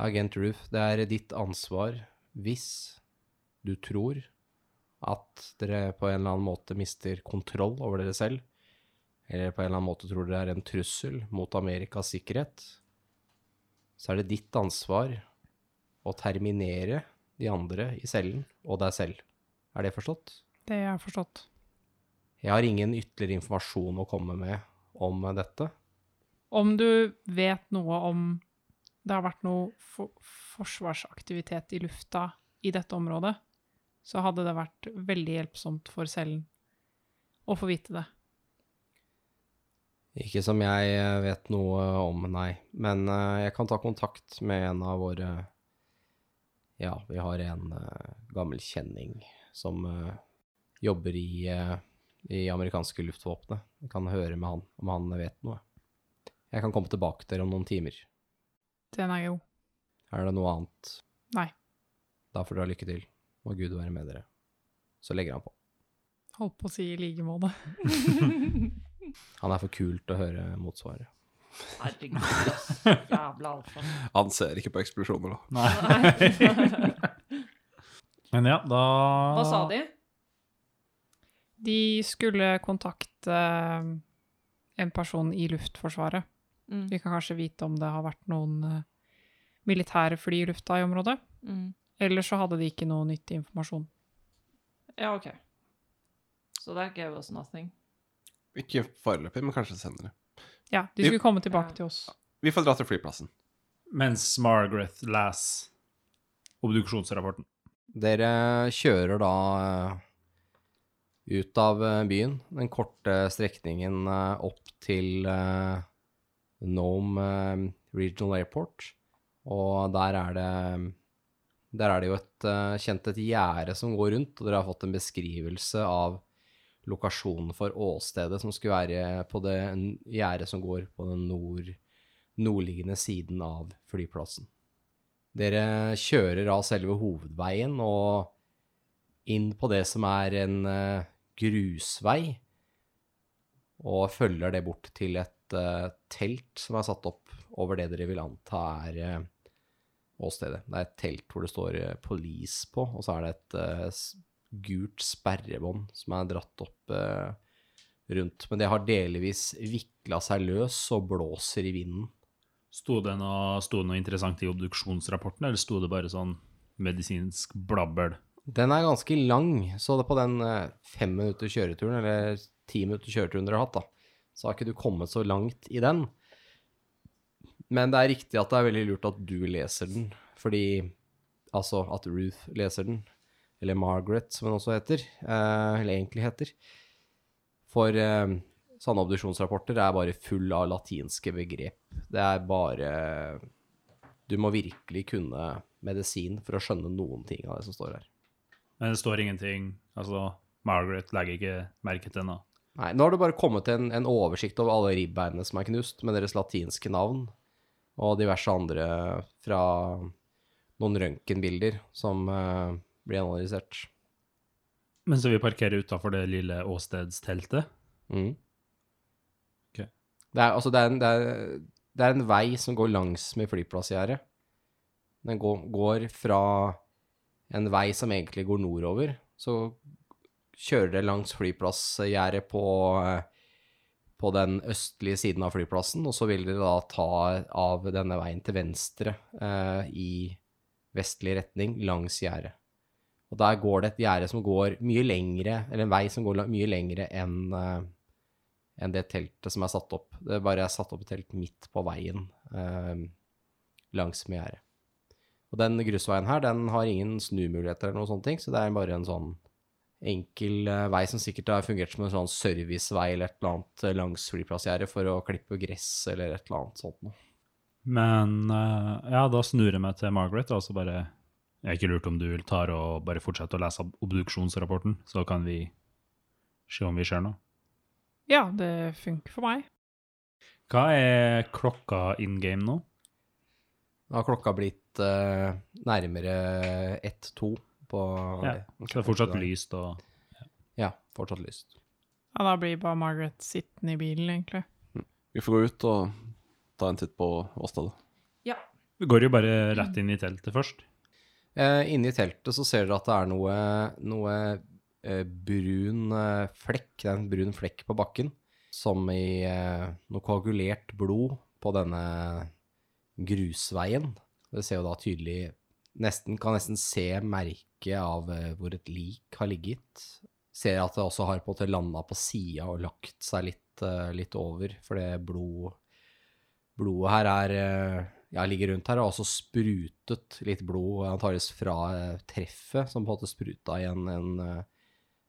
[SPEAKER 1] Agent Ruth, det er ditt ansvar hvis du tror at dere på en eller annen måte mister kontroll over dere selv, eller på en eller annen måte tror dere er en trussel mot Amerikas sikkerhet, så er det ditt ansvar å terminere de andre i cellen og deg selv. Er det forstått?
[SPEAKER 5] Det har jeg forstått.
[SPEAKER 1] Jeg har ingen ytterligere informasjon å komme med om eh, dette.
[SPEAKER 5] Om du vet noe om det har vært noe for forsvarsaktivitet i lufta i dette området, så hadde det vært veldig hjelpsomt for cellen å få vite det.
[SPEAKER 1] Ikke som jeg eh, vet noe om, nei. Men eh, jeg kan ta kontakt med en av våre Ja, vi har en eh, gammel kjenning som eh, jobber i, eh, i amerikanske luftvåpenet. Jeg kan høre med han om han vet noe. Jeg kan komme tilbake til dere om noen timer.
[SPEAKER 5] Den er jo
[SPEAKER 1] Er det noe annet?
[SPEAKER 5] Nei.
[SPEAKER 1] Da får dere ha lykke til. Må Gud være med dere. Så legger han på.
[SPEAKER 5] Holdt på å si i like måte.
[SPEAKER 1] Han er for kul til å høre motsvaret.
[SPEAKER 3] Herregud, ass. Jævla alfa.
[SPEAKER 2] Han ser ikke på eksplosjoner, da.
[SPEAKER 4] Nei. Men ja, da
[SPEAKER 3] Hva sa de?
[SPEAKER 5] De skulle kontakte eh, en person i Luftforsvaret.
[SPEAKER 3] Mm.
[SPEAKER 5] Vi kan kanskje vite om det har vært noen eh, militære fly i lufta i området.
[SPEAKER 3] Mm.
[SPEAKER 5] Ellers så hadde de ikke noe nyttig informasjon.
[SPEAKER 3] Ja, OK. So that gave us altså, nothing.
[SPEAKER 2] Ikke foreløpig, men kanskje senere.
[SPEAKER 5] Ja, de
[SPEAKER 2] Vi-
[SPEAKER 5] skulle komme tilbake
[SPEAKER 3] Ja.
[SPEAKER 5] til oss.
[SPEAKER 2] Vi får dra til flyplassen.
[SPEAKER 4] Mens Margaret leser obduksjonsrapporten.
[SPEAKER 1] Dere kjører da eh, ut av eh, byen, den korte strekningen eh, opp til eh, Nome eh, Regional Airport, og der er det der er det jo et eh, kjent et gjerde som går rundt, og dere har fått en beskrivelse av lokasjonen for åstedet som skulle være på det n- gjerdet som går på den nord, nordliggende siden av flyplassen. Dere kjører av selve hovedveien og inn på det som er en eh, grusvei, og følger det bort til et eh, telt som er satt opp over det dere vil anta er eh, åstedet. Det er et telt hvor det står eh, 'police' på, og så er det et eh, s- gult sperrebånd som er dratt opp eh, rundt. Men det har delvis vikla seg løs og blåser i vinden.
[SPEAKER 4] Sto det, noe, sto det noe interessant i obduksjonsrapporten, eller sto det bare sånn medisinsk blabbel?
[SPEAKER 1] Den er ganske lang, så det på den eh, fem minutter kjøreturen, eller ti minutter kjøreturen dere har hatt, da, så har ikke du kommet så langt i den. Men det er riktig at det er veldig lurt at du leser den, fordi Altså at Ruth leser den, eller Margaret, som hun også heter, eh, eller egentlig heter. For eh, sånne obduksjonsrapporter er bare full av latinske begrep. Det er bare Du må virkelig kunne medisin for å skjønne noen ting av det som står her.
[SPEAKER 4] Men det står ingenting. Altså, Margaret legger ikke merke til noe.
[SPEAKER 1] Nei, nå har det bare kommet en, en oversikt over alle ribbeinene som er knust, med deres latinske navn, og diverse andre fra noen røntgenbilder som eh, blir analysert.
[SPEAKER 4] Men så vi parkerer utafor det lille åstedsteltet.
[SPEAKER 1] Mm.
[SPEAKER 4] Ok.
[SPEAKER 1] Det er, altså, det, er en, det, er, det er en vei som går langs med flyplassgjerdet. Den går, går fra en vei som egentlig går nordover, så kjører det langs flyplassgjerdet på, eh, på den østlige siden av flyplassen, og så vil dere da ta av denne veien til venstre eh, i vestlig retning langs gjerdet. Og der går det et gjerde som går mye lengre, eller en vei som går la- mye lengre enn eh, enn det teltet som er satt opp. Det er bare satt opp et telt midt på veien eh, langs med gjerdet. Og den grusveien her, den har ingen snumuligheter eller noen sånne ting, så det er bare en sånn enkel eh, vei som sikkert har fungert som en sånn servicevei eller et eller annet eh, langs flyplassgjerdet for å klippe gress eller et eller annet sånt noe.
[SPEAKER 4] Men eh, ja, da snur jeg meg til Margaret, og så bare Jeg er ikke lurt om du tar og bare fortsetter å lese ob- obduksjonsrapporten, så kan vi se om vi ser noe.
[SPEAKER 5] Ja, det funker for meg.
[SPEAKER 4] Hva er klokka in game nå?
[SPEAKER 1] Da har klokka blitt eh, nærmere 1-2 på
[SPEAKER 4] Ja, Så det er fortsatt lyst og
[SPEAKER 1] Ja, fortsatt lyst.
[SPEAKER 5] Ja, da blir bare Margaret sittende i bilen, egentlig.
[SPEAKER 2] Vi får gå ut og ta en titt på åstedet.
[SPEAKER 4] Vi går jo bare rett inn i teltet først.
[SPEAKER 1] Eh, Inni teltet så ser dere at det er noe, noe eh, brun eh, flekk. Det er en brun flekk på bakken, som i eh, noe koagulert blod på denne grusveien. Det ser jo da tydelig nesten, Kan nesten se merket av eh, hvor et lik har ligget. Ser at det også har på en måte landa på sida og lagt seg litt, eh, litt over, for det blod, blodet her er eh, ja, ligger rundt her, og har også sprutet litt blod, antakeligvis fra eh, treffet, som på en måte spruta i en, en eh,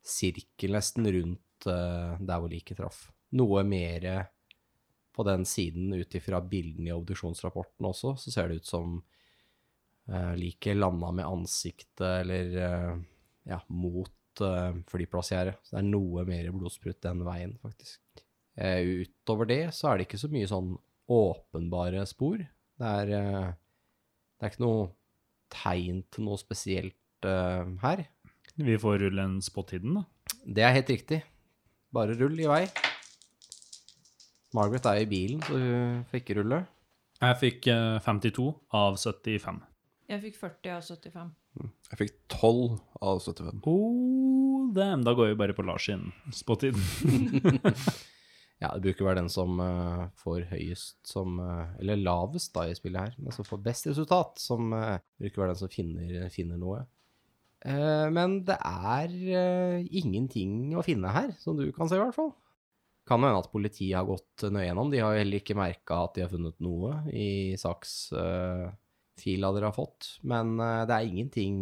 [SPEAKER 1] sirkel nesten rundt eh, der hvor liket traff. Noe mer eh, på den siden ut ifra bildene i obduksjonsrapporten også, så ser det ut som uh, liket landa med ansiktet eller eh, ja, mot uh, flyplassgjerdet. Så det er noe mer blodsprut den veien, faktisk. Eh, utover det så er det ikke så mye sånn åpenbare spor. Det er, eh, det er ikke noe tegn til noe spesielt eh, her.
[SPEAKER 4] Vi får rulle en spot hidden, da.
[SPEAKER 1] Det er helt riktig. Bare rull i vei. Margaret er i bilen, så hun får ikke rulle.
[SPEAKER 4] Jeg fikk eh, 52 av 75.
[SPEAKER 3] Jeg fikk 40 av 75.
[SPEAKER 2] Jeg fikk 12 av 75.
[SPEAKER 4] Oh, damn. Da går vi bare på Lars sin spot hidden.
[SPEAKER 1] Ja, det bruker å være den som eh, får høyest som eh, Eller lavest, da, i spillet her, men som får best resultat, som eh, bruker å være den som finner, finner noe. Eh, men det er eh, ingenting å finne her, som du kan se, i hvert fall. Kan jo hende at politiet har gått nøye gjennom. De har jo heller ikke merka at de har funnet noe i saksfila dere har fått. Men eh, det er ingenting,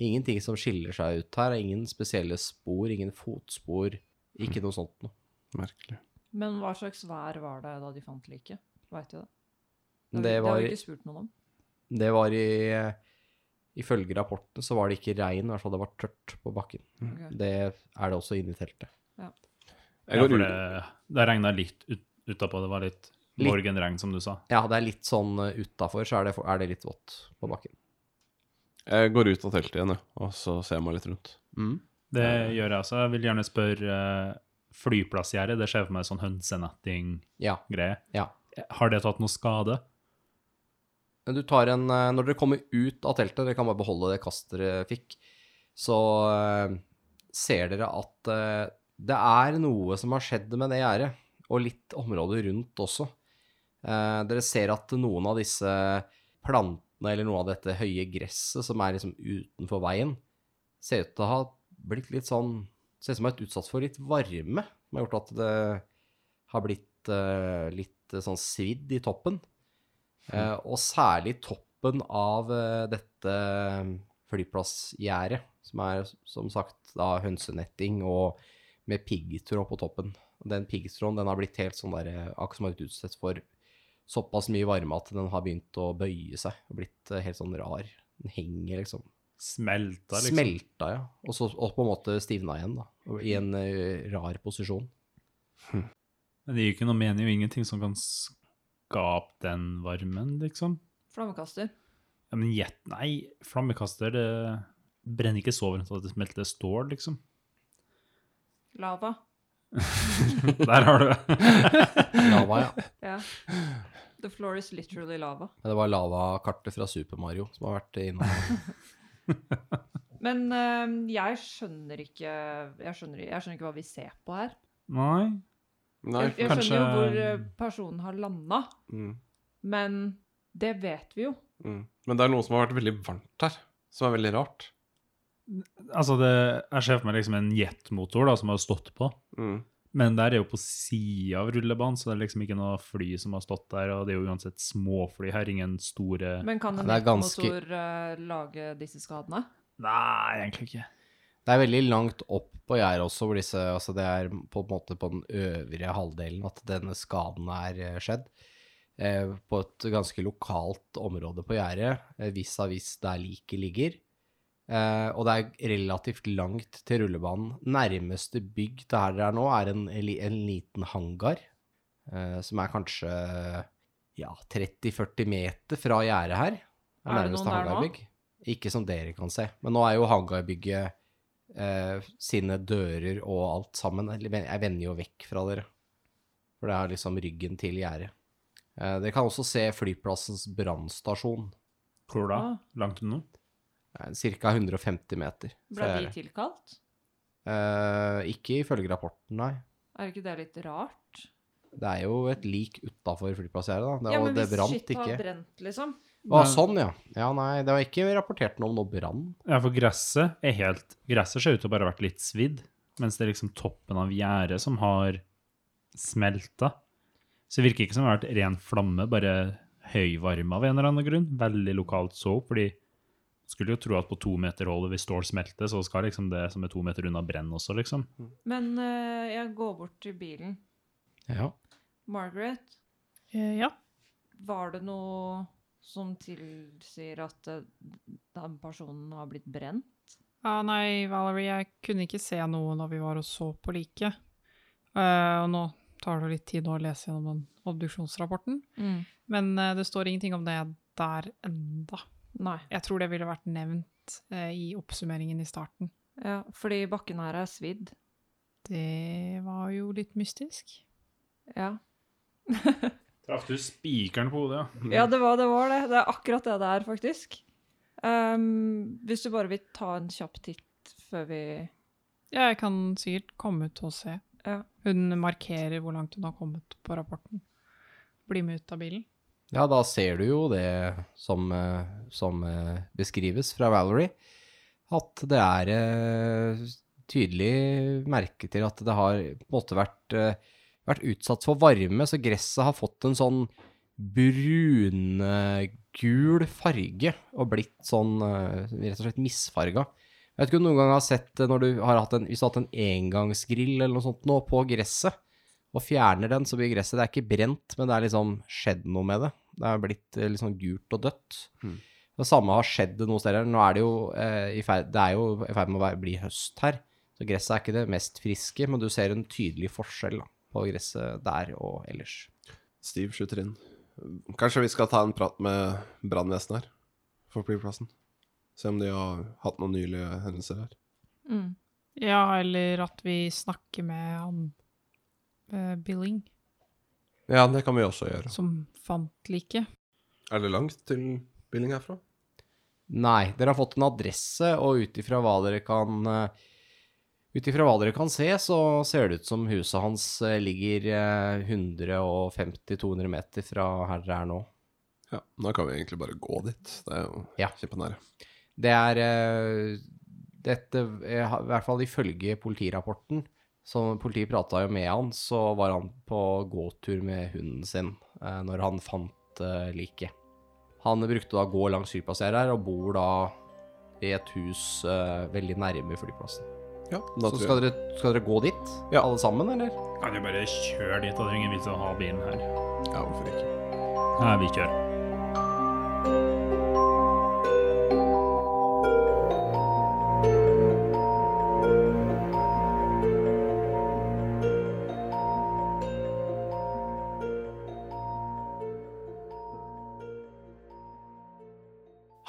[SPEAKER 1] ingenting som skiller seg ut her. Ingen spesielle spor, ingen fotspor. Ikke noe sånt noe.
[SPEAKER 2] Merkelig.
[SPEAKER 3] Men hva slags vær var det da de fant liket? Veit du det?
[SPEAKER 1] Det
[SPEAKER 3] har vi- har
[SPEAKER 1] var-
[SPEAKER 3] vi ikke spurt noen om.
[SPEAKER 1] Det var i eh, Ifølge rapporten så var det ikke regn, i hvert fall det var tørt på bakken.
[SPEAKER 3] Ok.
[SPEAKER 1] Det er det også inne i teltet.
[SPEAKER 2] Jeg
[SPEAKER 4] Ja,
[SPEAKER 2] går
[SPEAKER 4] for
[SPEAKER 2] ut.
[SPEAKER 4] det, det regna litt ut, utapå. Det var litt
[SPEAKER 1] Litt.
[SPEAKER 4] morgenregn, som du sa.
[SPEAKER 1] Ja, det er litt sånn utafor, så er det, er det litt vått på bakken.
[SPEAKER 2] Jeg går ut av teltet igjen, jeg, og så ser jeg meg litt rundt.
[SPEAKER 4] Det gjør jeg også. Jeg vil gjerne spørre eh, flyplassgjerdet. Det skjer for meg sånn hønsenetting-greie.
[SPEAKER 1] Ja, ja.
[SPEAKER 4] Har det tatt noe skade?
[SPEAKER 1] Men Du tar en eh, Når dere kommer ut av teltet, dere kan bare beholde det kastet dere fikk, så eh, ser dere at eh, det er noe som har skjedd med det gjerdet, og litt området rundt også. Eh, dere ser at noen av disse plantene, eller noe av dette høye gresset som er liksom utenfor veien, ser ut til å ha blitt litt sånn Ser ut som det har vært utsatt for litt varme, som har gjort at det har blitt eh, litt eh, sånn svidd i toppen. Eh, og særlig toppen av eh, dette eh, flyplassgjerdet, som er som sagt da hønsenetting og med piggtråd på toppen. Den piggtråden den har blitt helt sånn der, eh, akkurat som har vært utsatt for såpass mye varme at den har begynt å bøye seg. og Blitt eh, helt sånn rar. Den henger liksom.
[SPEAKER 4] Smelta, liksom?
[SPEAKER 1] Smelta, ja. Og så og på en måte stivna igjen, da. og I en eh, rar posisjon.
[SPEAKER 4] Men det gir jo ikke noe mening, og ingenting som kan skape den varmen, liksom.
[SPEAKER 3] Flammekaster.
[SPEAKER 4] Ja, men gjett, nei, flammekaster, det brenner ikke så varmt at det smelter stål, liksom.
[SPEAKER 3] Lava.
[SPEAKER 4] Der har du det.
[SPEAKER 1] Lava, ja.
[SPEAKER 3] Ja. The floor is literally lava.
[SPEAKER 1] Men Det var lavakartet fra Super Mario som har vært innom.
[SPEAKER 3] Men eh, jeg skjønner ikke jeg skjønner, jeg skjønner ikke hva vi ser på her.
[SPEAKER 4] Nei.
[SPEAKER 2] Nei,
[SPEAKER 3] Jeg, jeg
[SPEAKER 4] kanskje-
[SPEAKER 3] skjønner jo hvor eh, personen har landa,
[SPEAKER 2] Mm,
[SPEAKER 3] men det vet vi jo.
[SPEAKER 2] mm. Men det er noe som har vært veldig varmt her, som er veldig rart.
[SPEAKER 4] Altså, det, jeg ser for meg liksom en jetmotor da, som har stått på.
[SPEAKER 2] Mm.
[SPEAKER 4] Men der er jo på sida av rullebanen, så det er liksom ikke noe fly som har stått der. Og det er jo uansett småfly her, ingen store
[SPEAKER 3] Men kan en
[SPEAKER 1] Ja, det er ganske-
[SPEAKER 3] motor eh, lage disse skadene?
[SPEAKER 4] Nei, egentlig ikke.
[SPEAKER 1] Det er veldig langt opp på gjerdet også, hvor disse, altså det er på en måte på den øvrige halvdelen at denne skaden er eh, skjedd. Eh, på et ganske lokalt område på gjerdet, eh, vis-à-vis der liket ligger. Eh, og det er relativt langt til rullebanen. Nærmeste bygg det her dere er nå, er en, en li- en liten hangar, eh, som er kanskje ja, 30-40 meter fra gjerdet her.
[SPEAKER 3] Er det noen
[SPEAKER 1] nærmeste
[SPEAKER 3] der nå?
[SPEAKER 1] hangarbygg. Ikke som dere kan se. Men nå er jo hangarbygget eh, sine dører og alt sammen. eller ven- Jeg vender jo vekk fra dere. For det er liksom ryggen til gjerdet. Eh, dere kan også se flyplassens brannstasjon. eh,
[SPEAKER 4] Hvor da?
[SPEAKER 3] Ah.
[SPEAKER 4] Langt unna?
[SPEAKER 1] Ca. 150 meter.
[SPEAKER 3] Ble
[SPEAKER 1] fra
[SPEAKER 3] de
[SPEAKER 1] gjerdet.
[SPEAKER 3] tilkalt?
[SPEAKER 1] Eh, ikke ifølge rapporten, nei.
[SPEAKER 3] Er ikke det litt rart?
[SPEAKER 1] Det er jo et lik utafor flyplassgjerdet, da. Det,
[SPEAKER 3] ja,
[SPEAKER 1] og
[SPEAKER 3] men
[SPEAKER 1] det
[SPEAKER 3] hvis
[SPEAKER 1] brant
[SPEAKER 3] shit har
[SPEAKER 1] ikke.
[SPEAKER 3] brent, liksom.
[SPEAKER 1] Å, sånn, ja. Ja, nei, det var ikke rapportert noe om noe brann.
[SPEAKER 4] Ja, for gresset er helt Gresset ser ut til å bare ha vært litt svidd, mens det er liksom toppen av gjerdet som har smelta. Så det virker ikke som det har vært ren flamme, bare høy varme av en eller annen grunn. Veldig lokalt så opp, fordi skulle jo tro at på to meter hold, hvis stål smelter, så skal liksom det som er to meter unna, brenne også, liksom.
[SPEAKER 3] Men eh, jeg går bort til bilen.
[SPEAKER 1] Ja.
[SPEAKER 3] Margaret,
[SPEAKER 5] Eh, ja.
[SPEAKER 3] var det noe som tilsier at eh, den personen har blitt brent?
[SPEAKER 5] Ja, nei, Valerie, jeg kunne ikke se noe når vi var og så på liket. Eh, og nå tar det jo litt tid å lese gjennom den obduksjonsrapporten.
[SPEAKER 3] Mm.
[SPEAKER 5] Men eh, det står ingenting om det der enda.
[SPEAKER 3] Nei.
[SPEAKER 5] Jeg tror det ville vært nevnt eh, i oppsummeringen i starten.
[SPEAKER 3] Ja, fordi bakken her er svidd.
[SPEAKER 5] Det var jo litt mystisk.
[SPEAKER 3] Ja.
[SPEAKER 4] Traff du spikeren på hodet, ja?
[SPEAKER 3] ja, det var det var det. Det er akkurat det det er, faktisk. Ehm, hvis du bare vil ta en kjapp titt før vi
[SPEAKER 5] Jeg kan sikkert komme ut og se.
[SPEAKER 3] Ja.
[SPEAKER 5] Hun markerer hvor langt hun har kommet på rapporten. Bli med ut av bilen.
[SPEAKER 1] Ja, da ser du jo det som, eh, som eh, beskrives fra Valerie, at det er eh, tydelig merke til at det har på en måte vært, eh, vært utsatt for varme, så gresset har fått en sånn brungul farge og blitt sånn eh, rett og slett misfarga. Jeg vet ikke om du noen gang har sett det når du har hatt en, hvis du har hatt en engangsgrill eller noe sånt nå på gresset, og fjerner den, så blir gresset Det er ikke brent, men det er liksom skjedd noe med det. Det er blitt eh, litt sånn gult og dødt.
[SPEAKER 2] Mm.
[SPEAKER 1] Det samme har skjedd noen steder. Nå er det jo eh, i ferd, det er jo i ferd med å være, bli høst her, så gresset er ikke det mest friske, men du ser en tydelig forskjell da, på gresset der og ellers.
[SPEAKER 2] Stiv skyter inn. Kanskje vi skal ta en prat med brannvesenet her for flyplassen? Se om de har hatt noen nylige hendelser her.
[SPEAKER 3] mm.
[SPEAKER 5] Ja, eller at vi snakker med han eh, Billing,
[SPEAKER 2] Ja, det kan vi også gjøre.
[SPEAKER 5] som fant liket.
[SPEAKER 2] Er det langt til Billing herfra?
[SPEAKER 1] Nei, dere har fått en adresse, og ut ifra hva dere kan eh, Ut ifra hva dere kan se, så ser det ut som huset hans eh, ligger eh, 150-200 meter fra her dere er nå.
[SPEAKER 2] Ja, da kan vi egentlig bare gå dit. Det er jo
[SPEAKER 1] Ja.
[SPEAKER 2] kjempenære.
[SPEAKER 1] Det er eh, Dette eh, I hvert fall ifølge politirapporten. Så politiet prata jo med han, så var han på gåtur med hunden sin eh, når han fant eh, liket. Han brukte da å gå langs flyplassen her og bor da i et hus eh, veldig nærme flyplassen.
[SPEAKER 2] Ja, da
[SPEAKER 1] Så
[SPEAKER 2] tror
[SPEAKER 1] skal
[SPEAKER 2] jeg.
[SPEAKER 1] dere, skal dere gå dit,
[SPEAKER 2] Ja.
[SPEAKER 1] alle sammen, eller?
[SPEAKER 4] Kan jo bare kjøre dit, og det er ingen vits å ha bilen her.
[SPEAKER 2] Ja, hvorfor ikke?
[SPEAKER 4] Nei, vi kjører.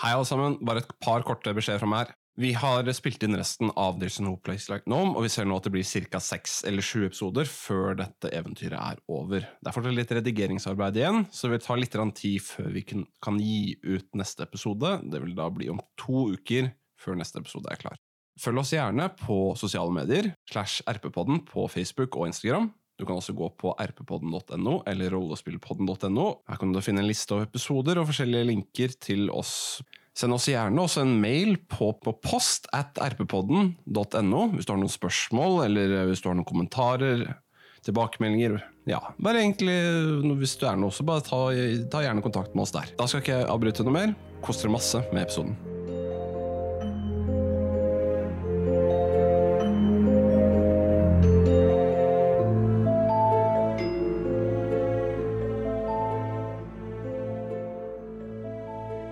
[SPEAKER 2] Hei alle sammen, bare et par korte beskjeder fra meg her. Vi har spilt inn resten av There's No Place Like Nome, og vi ser nå at det blir ca. seks eller sju episoder før dette eventyret er over. Det er fortsatt litt redigeringsarbeid igjen, så det vil ta litt grann tid før vi kan kan gi ut neste episode. Det vil da bli om to uker før neste episode er klar. Følg oss gjerne på sosiale medier, slash RP-podden på Facebook og Instagram. Du kan også gå på rppodden.no eller rollespillpodden.no. Her kan du finne en liste over episoder og forskjellige linker til oss Send oss gjerne også en mail på, på post at rppodden.no hvis du har noen spørsmål eller eh, hvis du har noen kommentarer, tilbakemeldinger. Ja, bare egentlig no- hvis du er noe, så bare ta, ta gjerne kontakt med oss der. Da skal ikke jeg avbryte noe mer. Kos dere masse med episoden.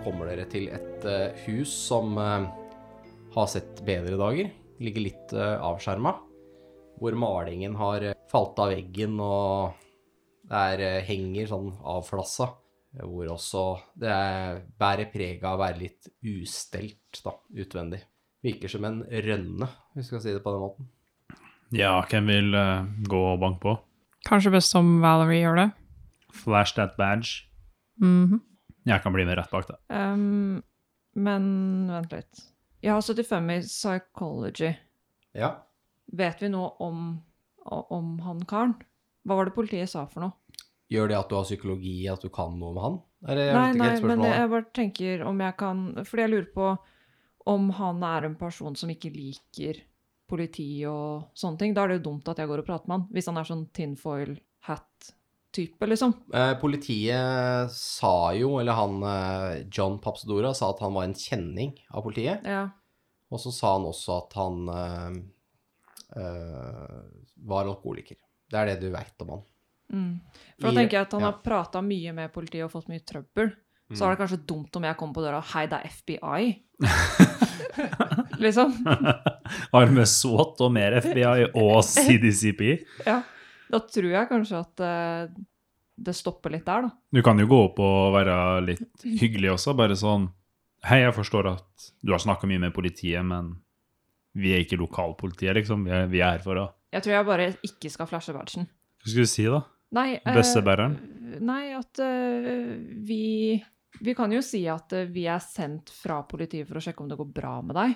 [SPEAKER 1] kommer dere til et eh, hus som eh, har sett bedre dager. Ligger litt uh, avskjerma. Hvor malingen har eh, falt av veggen, og det er, eh, henger sånn avflassa. Hvor også det er, bærer preg av å være litt ustelt da, utvendig. Virker som en rønne, hvis vi skal si det på den måten.
[SPEAKER 4] Ja, hvem vil eh, gå og banke på?
[SPEAKER 5] Kanskje best om Valerie gjør det.
[SPEAKER 4] Flash that badge.
[SPEAKER 5] Mhm.
[SPEAKER 4] Jeg kan bli med rett bak deg.
[SPEAKER 3] Ehm, Men vent litt. Jeg har 75 i psychology.
[SPEAKER 1] Ja.
[SPEAKER 3] Vet vi noe om, om han karen? Hva var det politiet sa for noe?
[SPEAKER 1] Gjør det at du har psykologi, at du kan noe om han? Eller, jeg vet
[SPEAKER 3] Nei,
[SPEAKER 1] ikke
[SPEAKER 3] nei,
[SPEAKER 1] helt
[SPEAKER 3] men
[SPEAKER 1] spørsmålet.
[SPEAKER 3] jeg bare tenker om jeg kan Fordi jeg lurer på om han er en person som ikke liker politi og sånne ting. Da er det jo dumt at jeg går og prater med han, hvis han er sånn tinfoil hat-type, liksom.
[SPEAKER 1] Eh, Politiet sa jo, eller han eh, John Papsadora sa at han var en kjenning av politiet.
[SPEAKER 3] Ja.
[SPEAKER 1] Og så sa han også at han eh, eh, var alkoholiker. Det er det du veit om han.
[SPEAKER 3] Mm. For da
[SPEAKER 1] I-
[SPEAKER 3] tenker jeg at
[SPEAKER 1] ja.
[SPEAKER 3] han
[SPEAKER 1] Mm.
[SPEAKER 3] har prata mye med politiet og fått mye trøbbel. Så er det kanskje dumt om jeg kommer på døra og hei, det er FBI. liksom.
[SPEAKER 4] Har med SWAT og mer FBI og CDCP.
[SPEAKER 3] Ja. Da tror jeg kanskje at eh, det stopper litt der, da.
[SPEAKER 4] Du kan jo gå opp og være litt hyggelig også, bare sånn Hei, jeg forstår at du har snakka mye med politiet, men Vi er ikke lokalpolitiet, liksom. Vi er, vi er her for å
[SPEAKER 3] Jeg tror jeg bare ikke skal flashe badgen.
[SPEAKER 4] Hva skulle du si, da?
[SPEAKER 3] Nei, eh,
[SPEAKER 4] Bøssebæreren?
[SPEAKER 3] Nei, at eh, vi Vi kan jo si at eh, vi er sendt fra politiet for å sjekke om det går bra med deg.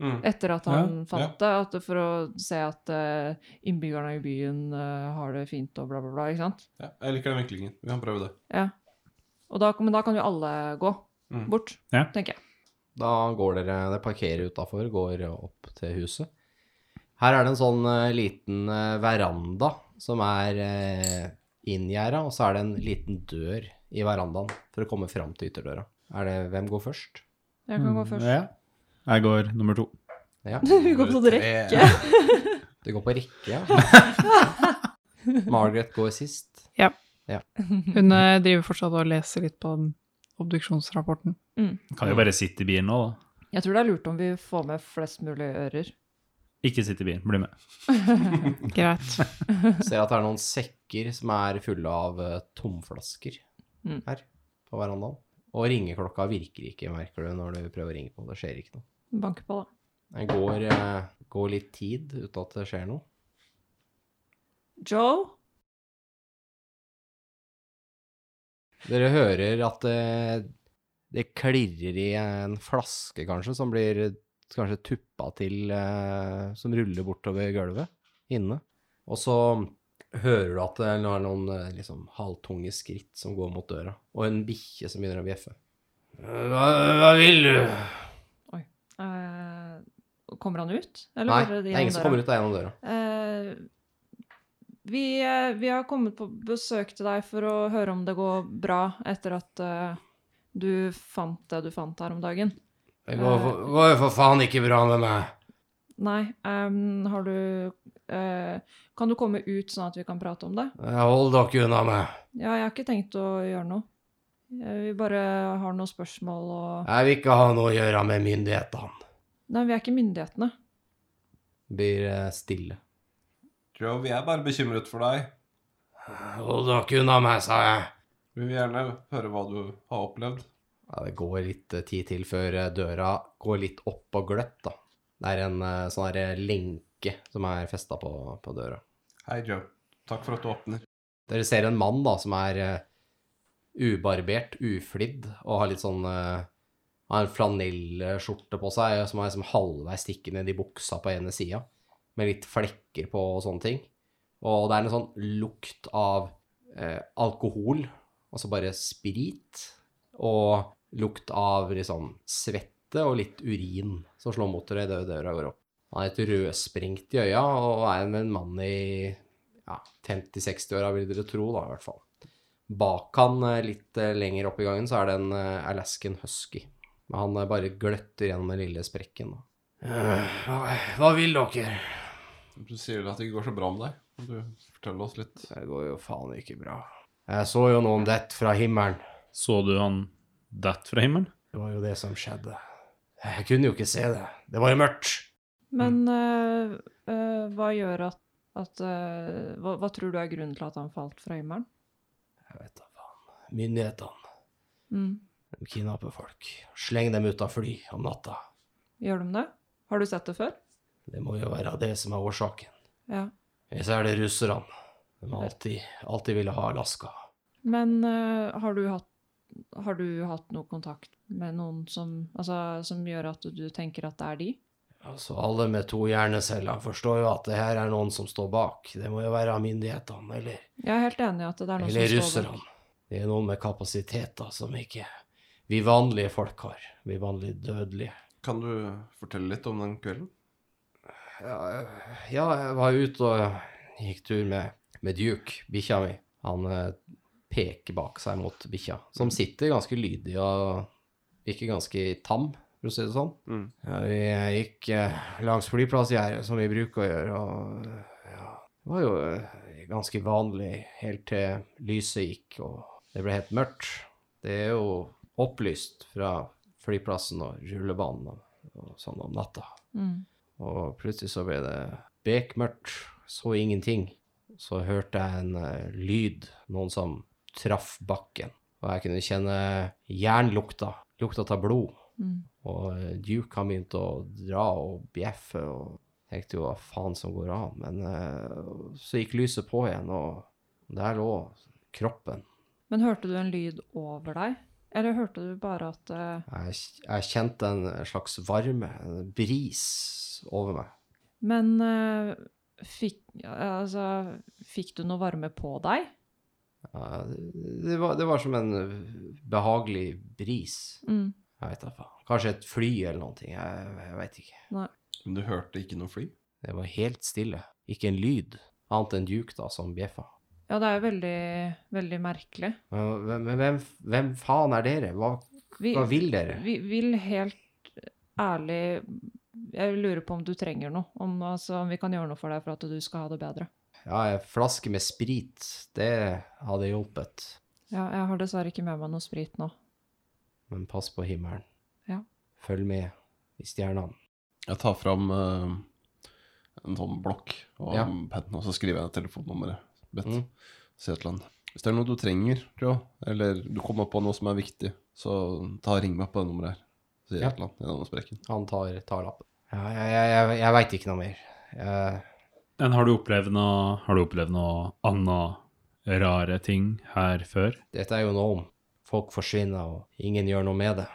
[SPEAKER 2] Mm.
[SPEAKER 3] Etter at han
[SPEAKER 2] Ja,
[SPEAKER 3] fant det, at, for å se at eh, innbyggerne i byen eh, har det fint og bla, bla, bla. ikke sant?
[SPEAKER 2] Ja, jeg liker den vinklingen. Vi kan prøve det.
[SPEAKER 3] Ja. Og da, men da kan jo alle gå
[SPEAKER 2] Mm.
[SPEAKER 3] bort,
[SPEAKER 4] Ja.
[SPEAKER 3] tenker jeg.
[SPEAKER 1] Da går dere, dere parkerer utafor, går opp til huset. Her er det en sånn eh, liten eh, veranda som er uh, inngjerda, og så er det en liten dør i verandaen for å komme fram til ytterdøra. Er det hvem går først?
[SPEAKER 3] Jeg
[SPEAKER 1] Mm.
[SPEAKER 3] kan gå først.
[SPEAKER 4] Ja. Jeg går nummer to.
[SPEAKER 1] Ja,
[SPEAKER 3] Vi går på sånn rekke.
[SPEAKER 1] det går på rekke, ja. Margaret går sist.
[SPEAKER 5] Hun eh, driver fortsatt og leser litt på den obduksjonsrapporten.
[SPEAKER 4] Kan jo bare sitte i bilen nå, da.
[SPEAKER 3] Jeg tror det er lurt om vi får med flest mulig ører.
[SPEAKER 4] Ikke sitte i bilen, bli med.
[SPEAKER 5] Greit.
[SPEAKER 1] Ser at det er noen sekker som er fulle av eh, tomflasker
[SPEAKER 3] Mm.
[SPEAKER 1] her på verandaen. Og ringeklokka virker ikke, merker du, når du prøver å ringe på. Det skjer ikke noe.
[SPEAKER 3] Banke på, da.
[SPEAKER 1] Det går, eh, går litt tid uten at det skjer noe.
[SPEAKER 3] Joe?
[SPEAKER 1] Dere hører at det, det klirrer i en flaske, kanskje, som blir kanskje tuppa til eh, Som ruller bortover gulvet inne. Og så hører du at det er noen eh, liksom, halvtunge skritt som går mot døra, og en bikkje som begynner å bjeffe. Hva, hva vil du?
[SPEAKER 3] Eh, kommer han ut? Eller
[SPEAKER 1] Nei,
[SPEAKER 3] bare
[SPEAKER 1] det er ingen som kommer ut av gjennom døra.
[SPEAKER 3] Eh, vi, eh, vi har kommet på besøk til deg for å høre om det går bra etter at eh, du fant det du fant her om dagen.
[SPEAKER 1] Det går for, går for faen ikke bra med meg.
[SPEAKER 3] Nei, em, har du eh, Kan du komme ut sånn at vi kan prate om det?
[SPEAKER 1] Hold dere unna meg.
[SPEAKER 3] Ja, jeg har ikke tenkt å gjøre noe. Eh, Vi bare har noen spørsmål og
[SPEAKER 1] Jeg vil ikke ha noe å gjøre med myndighetene.
[SPEAKER 3] Nei, vi er ikke myndighetene.
[SPEAKER 1] Blir eh, stille.
[SPEAKER 2] Joe, vi er bare bekymret for deg.
[SPEAKER 1] Hold dere unna meg, sa jeg.
[SPEAKER 2] Vi vil gjerne høre hva du har opplevd.
[SPEAKER 1] Ja, det går litt eh, tid til før eh, døra går litt opp og gløtt, da. Det er en eh, sånn her, eh, lenke som er festa på, på døra.
[SPEAKER 2] Hei, Joe. Takk for at du åpner.
[SPEAKER 1] Dere ser en mann da, som er eh, ubarbert, uflidd, og har litt sånn eh, Har en flanellskjorte på seg som er liksom halvveis stikkende i buksa på ene sida, med litt flekker på og sånne ting. Og det er en sånn lukt av eh, alkohol, altså bare sprit, og lukt av liksom svette og litt urin som slår mot dere idet døra går opp. Han er litt rødsprengt i øya og er en- en mann i ja, 50-60-åra, vil dere tro, da, i hvert fall. Bak han, eh, litt eh, lenger opp i gangen, så er det en eh, Alaskan Husky. Men han eh, bare gløtter gjennom den lille sprekken. da. Eh, Hva vil dere?
[SPEAKER 2] Du sier at det ikke går så bra med deg. Kan Du forteller oss litt.
[SPEAKER 1] Det går jo faen ikke bra. Jeg så jo noen dette fra himmelen.
[SPEAKER 4] Så du han datt fra himmelen?
[SPEAKER 1] Det var jo det som skjedde. Jeg kunne jo ikke se det. Det var jo mørkt.
[SPEAKER 3] Men eh, eh, hva gjør at, at eh, hva, hva tror du er grunnen til at han falt fra himmelen?
[SPEAKER 1] Jeg vet da faen. Myndighetene,
[SPEAKER 3] Mm.
[SPEAKER 1] de kidnapper folk. Sleng dem ut av fly om natta.
[SPEAKER 3] Gjør de det? Har du sett det før?
[SPEAKER 1] Det må jo være det som er årsaken.
[SPEAKER 3] Ja.
[SPEAKER 1] Eller så er det russerne. De har alltid, alltid ville ha Alaska.
[SPEAKER 3] Men eh, har, du hatt, har du hatt noe kontakt med noen som, altså, som gjør at du tenker at det er de?
[SPEAKER 1] Altså, alle med to hjerneceller forstår jo at det her er noen som står bak. Det må jo være myndighetene, eller,
[SPEAKER 3] Jeg er helt enig i at det er noen
[SPEAKER 1] eller
[SPEAKER 3] som står
[SPEAKER 1] russerne. Det er noen med kapasiteter som ikke vi vanlige folk har. Vi vanlige dødelige.
[SPEAKER 2] Kan du fortelle litt om den kvelden?
[SPEAKER 1] Ja, ja, jeg var ute og gikk tur med, med Duke, bikkja mi. Han eh, peker bak seg mot bikkja, som sitter ganske lydig og virker ganske tam, for å si det sånn.
[SPEAKER 2] Mm.
[SPEAKER 1] Ja, vi eh, gikk eh, langs flyplassgjerdet, som vi bruker å gjøre, og eh, ja, det var jo eh, ganske vanlig helt til lyset gikk, og det ble helt mørkt. Det er jo opplyst fra flyplassen og rullebanen og, og sånn om natta.
[SPEAKER 3] Mm.
[SPEAKER 1] Og plutselig så ble det bekmørkt, så ingenting. Så hørte jeg en eh, lyd, noen som traff bakken. Og jeg kunne kjenne jernlukta, lukta av blod.
[SPEAKER 3] Mm.
[SPEAKER 1] Og eh, Duke har begynt å dra og bjeffe, og tenkte jo hva faen som går an. Men eh, så gikk lyset på igjen, og der lå kroppen.
[SPEAKER 3] Men hørte du en lyd over deg? Eller hørte du bare at eh,
[SPEAKER 1] Jeg, jeg kjente en slags varme, en bris over meg.
[SPEAKER 3] Men eh, fikk, ja, altså, fikk du noe varme på deg?
[SPEAKER 1] Ja, det, var, det var som en behagelig bris.
[SPEAKER 3] Mm.
[SPEAKER 1] Jeg vet da faen. Kanskje et fly eller noe. Jeg, jeg veit ikke.
[SPEAKER 2] Men du hørte ikke noe fly?
[SPEAKER 1] Det var helt stille. Ikke en lyd, annet enn Duke, da, som bjeffa.
[SPEAKER 3] Ja, det er jo veldig, veldig merkelig.
[SPEAKER 1] Men men- men hvem, hvem faen er dere? Hva,
[SPEAKER 3] Vi,
[SPEAKER 1] hva vil dere?
[SPEAKER 3] vi vil helt ærlig Jeg lurer på om du trenger noe. Om, altså, om vi kan gjøre noe for deg for at du skal ha det bedre.
[SPEAKER 1] Ja, en flaske med sprit, det hadde hjulpet.
[SPEAKER 3] Ja, jeg har dessverre ikke med meg noe sprit nå.
[SPEAKER 1] Men pass på himmelen.
[SPEAKER 3] Ja.
[SPEAKER 1] Følg med i stjernene.
[SPEAKER 2] Jeg tar fram eh, en sånn blokk og
[SPEAKER 1] Ja.
[SPEAKER 2] en penn, og så skriver jeg telefonnummeret. Bedt.
[SPEAKER 1] Mm.
[SPEAKER 2] Si et eller annet. Hvis det er noe du trenger, Joe, eller du kommer på noe som er viktig, så ta og ring meg på det nummeret her. Sier jeg
[SPEAKER 1] Ja.
[SPEAKER 2] et eller annet gjennom sprekken.
[SPEAKER 1] Han tar, tar lappen. Ja, jeg, jeg, jeg, jeg veit ikke noe mer. Jeg,
[SPEAKER 4] Men har du opplevd noe, har du opplevd noe annet rare ting her før?
[SPEAKER 1] dette er jo noe om. Folk forsvinner, og ingen gjør noe med det.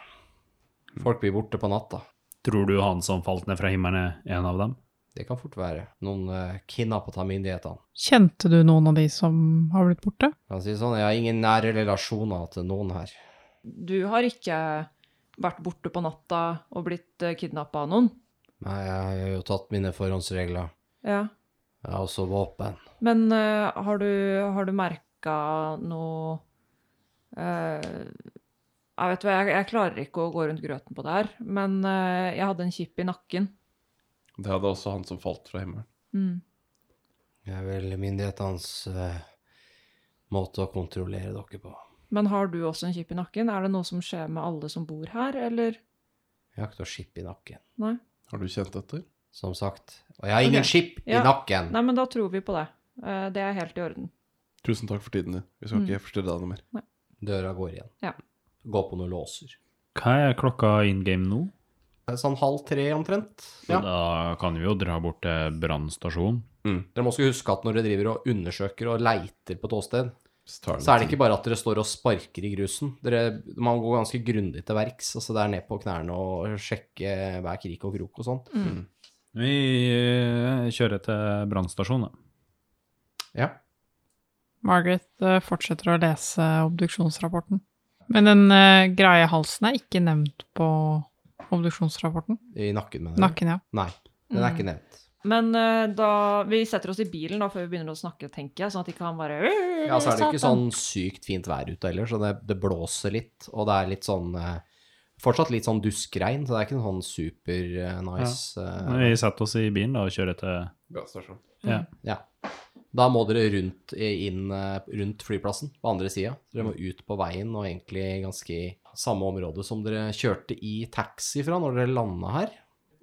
[SPEAKER 1] Folk blir borte på natta.
[SPEAKER 4] Tror du han som falt ned fra himmelen er en av dem?
[SPEAKER 1] Det kan fort være. Noen uh, kidnappet av myndighetene.
[SPEAKER 5] Kjente du noen av de som har blitt borte?
[SPEAKER 1] Kan jeg si det sånn, jeg har ingen nære relasjoner til noen her.
[SPEAKER 3] Du har ikke vært borte på natta og blitt kidnappa av noen?
[SPEAKER 1] Nei, jeg har jo tatt mine forhåndsregler.
[SPEAKER 3] Ja.
[SPEAKER 1] Jeg har også våpen.
[SPEAKER 3] Men eh, har du, har du merka noe eh, Jeg vet hva, jeg, jeg klarer ikke å gå rundt grøten på det her, men eh, jeg hadde en kipp i nakken.
[SPEAKER 2] Det hadde også han som falt fra himmelen.
[SPEAKER 3] Mm.
[SPEAKER 1] Det er vel myndighetenes eh, måte å kontrollere dere på.
[SPEAKER 3] Men har du også en kipp i nakken? Er det noe som skjer med alle som bor her, eller?
[SPEAKER 1] Jeg har ikke noe skip i nakken,
[SPEAKER 3] Nei?
[SPEAKER 2] Har du kjent etter?
[SPEAKER 1] som sagt. Og jeg har ingen
[SPEAKER 3] Ok,
[SPEAKER 1] skip i
[SPEAKER 3] ja.
[SPEAKER 1] nakken!
[SPEAKER 3] Nei, men da tror vi på det. Eh, det er helt i orden.
[SPEAKER 2] Tusen takk for tiden din. Vi skal
[SPEAKER 3] Mm.
[SPEAKER 2] ikke forstyrre deg noe mer.
[SPEAKER 1] Døra går igjen.
[SPEAKER 3] Ja.
[SPEAKER 1] Gå på noen låser.
[SPEAKER 4] Hva er klokka in game nå?
[SPEAKER 1] Det er Sånn halv tre omtrent.
[SPEAKER 4] Så Da kan vi jo dra bort til brannstasjonen.
[SPEAKER 1] Dere må også huske at når dere driver og undersøker og leiter på et åsted,
[SPEAKER 2] Så, tar
[SPEAKER 1] så er det ikke bare at dere står og sparker i grusen. Dere, man går ganske grundig til verks. altså Det er ned på knærne og sjekke hver krik og krok og sånn.
[SPEAKER 4] Vi eh, kjører til brannstasjonen. da.
[SPEAKER 1] Ja.
[SPEAKER 5] Margaret eh, fortsetter å lese obduksjonsrapporten. Men den eh, greie halsen er ikke nevnt på obduksjonsrapporten.
[SPEAKER 1] I nakken, mener du?
[SPEAKER 5] Nakken, ja.
[SPEAKER 1] Nei, den er ikke nevnt.
[SPEAKER 3] Men eh, da Vi setter oss i bilen da, før vi begynner å snakke, tenker jeg, sånn at ikke han bare
[SPEAKER 1] Ja, så er det ikke sånn sykt fint vær ute heller, så det, det blåser litt, og det er litt sånn eh, Fortsatt litt sånn duskregn, så det er ikke noe sånn super eh, nice eh,
[SPEAKER 4] Vi setter oss i bilen da, og kjører til
[SPEAKER 2] brannstasjon.
[SPEAKER 4] ja.
[SPEAKER 1] Ja. Da må dere rundt, inn eh, rundt flyplassen, på andre sida. Dere må ut på veien og egentlig ganske i samme område som dere kjørte i taxi fra når dere landa her.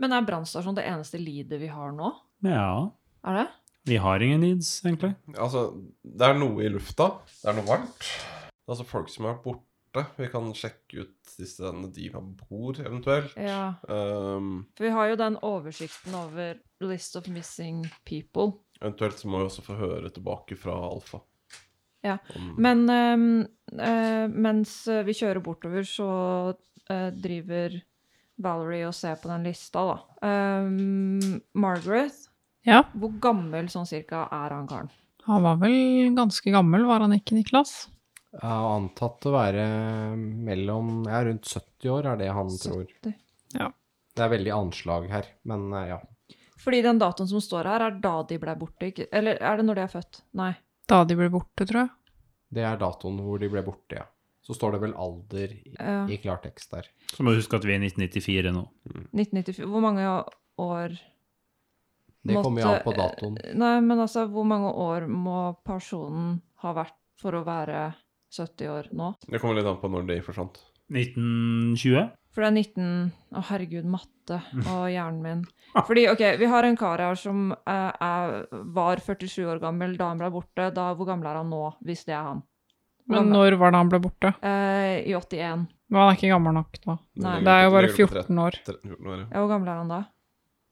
[SPEAKER 3] Men er brannstasjon det eneste lidet vi har nå?
[SPEAKER 4] ja.
[SPEAKER 3] Er det?
[SPEAKER 4] Vi har ingen needs, egentlig.
[SPEAKER 2] Altså, det er noe i lufta. Det er noe varmt. Det er altså folk som er borte. Vi kan sjekke ut de stedene de bor, eventuelt.
[SPEAKER 3] Ja.
[SPEAKER 2] Ehm,
[SPEAKER 3] For vi har jo den oversikten over List of Missing People.
[SPEAKER 2] eventuelt så må vi også få høre tilbake fra Alfa.
[SPEAKER 3] Ja,
[SPEAKER 2] Om-
[SPEAKER 3] Men ehm, eh, mens eh, vi kjører bortover, så eh, driver Valerie og ser på den lista, da. Ehm, Margaret,
[SPEAKER 5] ja.
[SPEAKER 3] hvor gammel sånn cirka er han karen?
[SPEAKER 5] Han var vel ganske gammel, var han ikke, Niklas?
[SPEAKER 1] Jeg har antatt å være mellom Ja, rundt 70 år er det han tror.
[SPEAKER 3] 70.
[SPEAKER 5] Ja.
[SPEAKER 1] Det er veldig anslag her, men eh, ja.
[SPEAKER 3] Fordi den datoen som står her, er da de ble borte, ikke? Eller er det når de er født? Nei.
[SPEAKER 5] Da de ble borte, tror jeg.
[SPEAKER 1] Det er datoen hvor de ble borte, ja. Så står det vel alder i,
[SPEAKER 3] Ja.
[SPEAKER 1] i klartekst der.
[SPEAKER 4] Så må du huske at vi er i 1994 nå.
[SPEAKER 3] 1994. Hvor mange år
[SPEAKER 1] Det kommer jo
[SPEAKER 3] Måtte-
[SPEAKER 1] an på datoen.
[SPEAKER 3] Nei, men altså, hvor mange år må personen ha vært for å være 70 år nå?
[SPEAKER 2] Det kommer litt an på når de forsvant.
[SPEAKER 4] 1920?
[SPEAKER 3] For det er 19 Å, herregud, matte og hjernen min. Fordi, OK, vi har en kar her som eh, er, var 47 år gammel da han ble borte. Da, hvor gammel er han nå, hvis det er han?
[SPEAKER 5] Men når var det han ble borte?
[SPEAKER 3] Eh, I 81.
[SPEAKER 5] Men han er ikke gammel nok nå.
[SPEAKER 3] Nei,
[SPEAKER 5] Det er jo bare
[SPEAKER 2] ligger på
[SPEAKER 5] 14 år.
[SPEAKER 2] tre- 14 år, ja.
[SPEAKER 3] Ja, Hvor gammel er han da?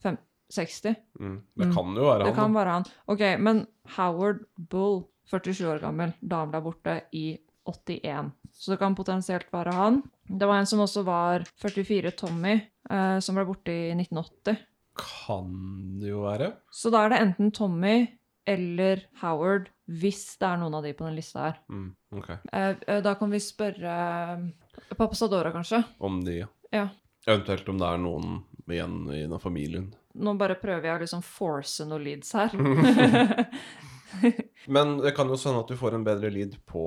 [SPEAKER 3] Fem, 60?
[SPEAKER 2] Mm. Det
[SPEAKER 5] Mm.
[SPEAKER 2] kan jo være
[SPEAKER 3] Det
[SPEAKER 2] han.
[SPEAKER 3] kan
[SPEAKER 2] da.
[SPEAKER 3] være han. Ok, men Howard Bull, 47 år gammel, da han ble borte i 81. Så det kan potensielt være han. Det var en som også var 44, Tommy, eh, som ble borte i 1980.
[SPEAKER 2] Kan det jo være.
[SPEAKER 3] Så da er det enten Tommy eller Howard, hvis det er noen av de på den lista her.
[SPEAKER 2] Mm. Ok.
[SPEAKER 3] Eh, eh, Da kan vi spørre eh, pappa Sadora, kanskje.
[SPEAKER 2] Om de,
[SPEAKER 3] Ja.
[SPEAKER 2] Eventuelt om det er noen igjen i den familien.
[SPEAKER 3] Nå bare prøver jeg å liksom force noen leads her.
[SPEAKER 2] Men det kan jo sånn at du får en bedre lyd på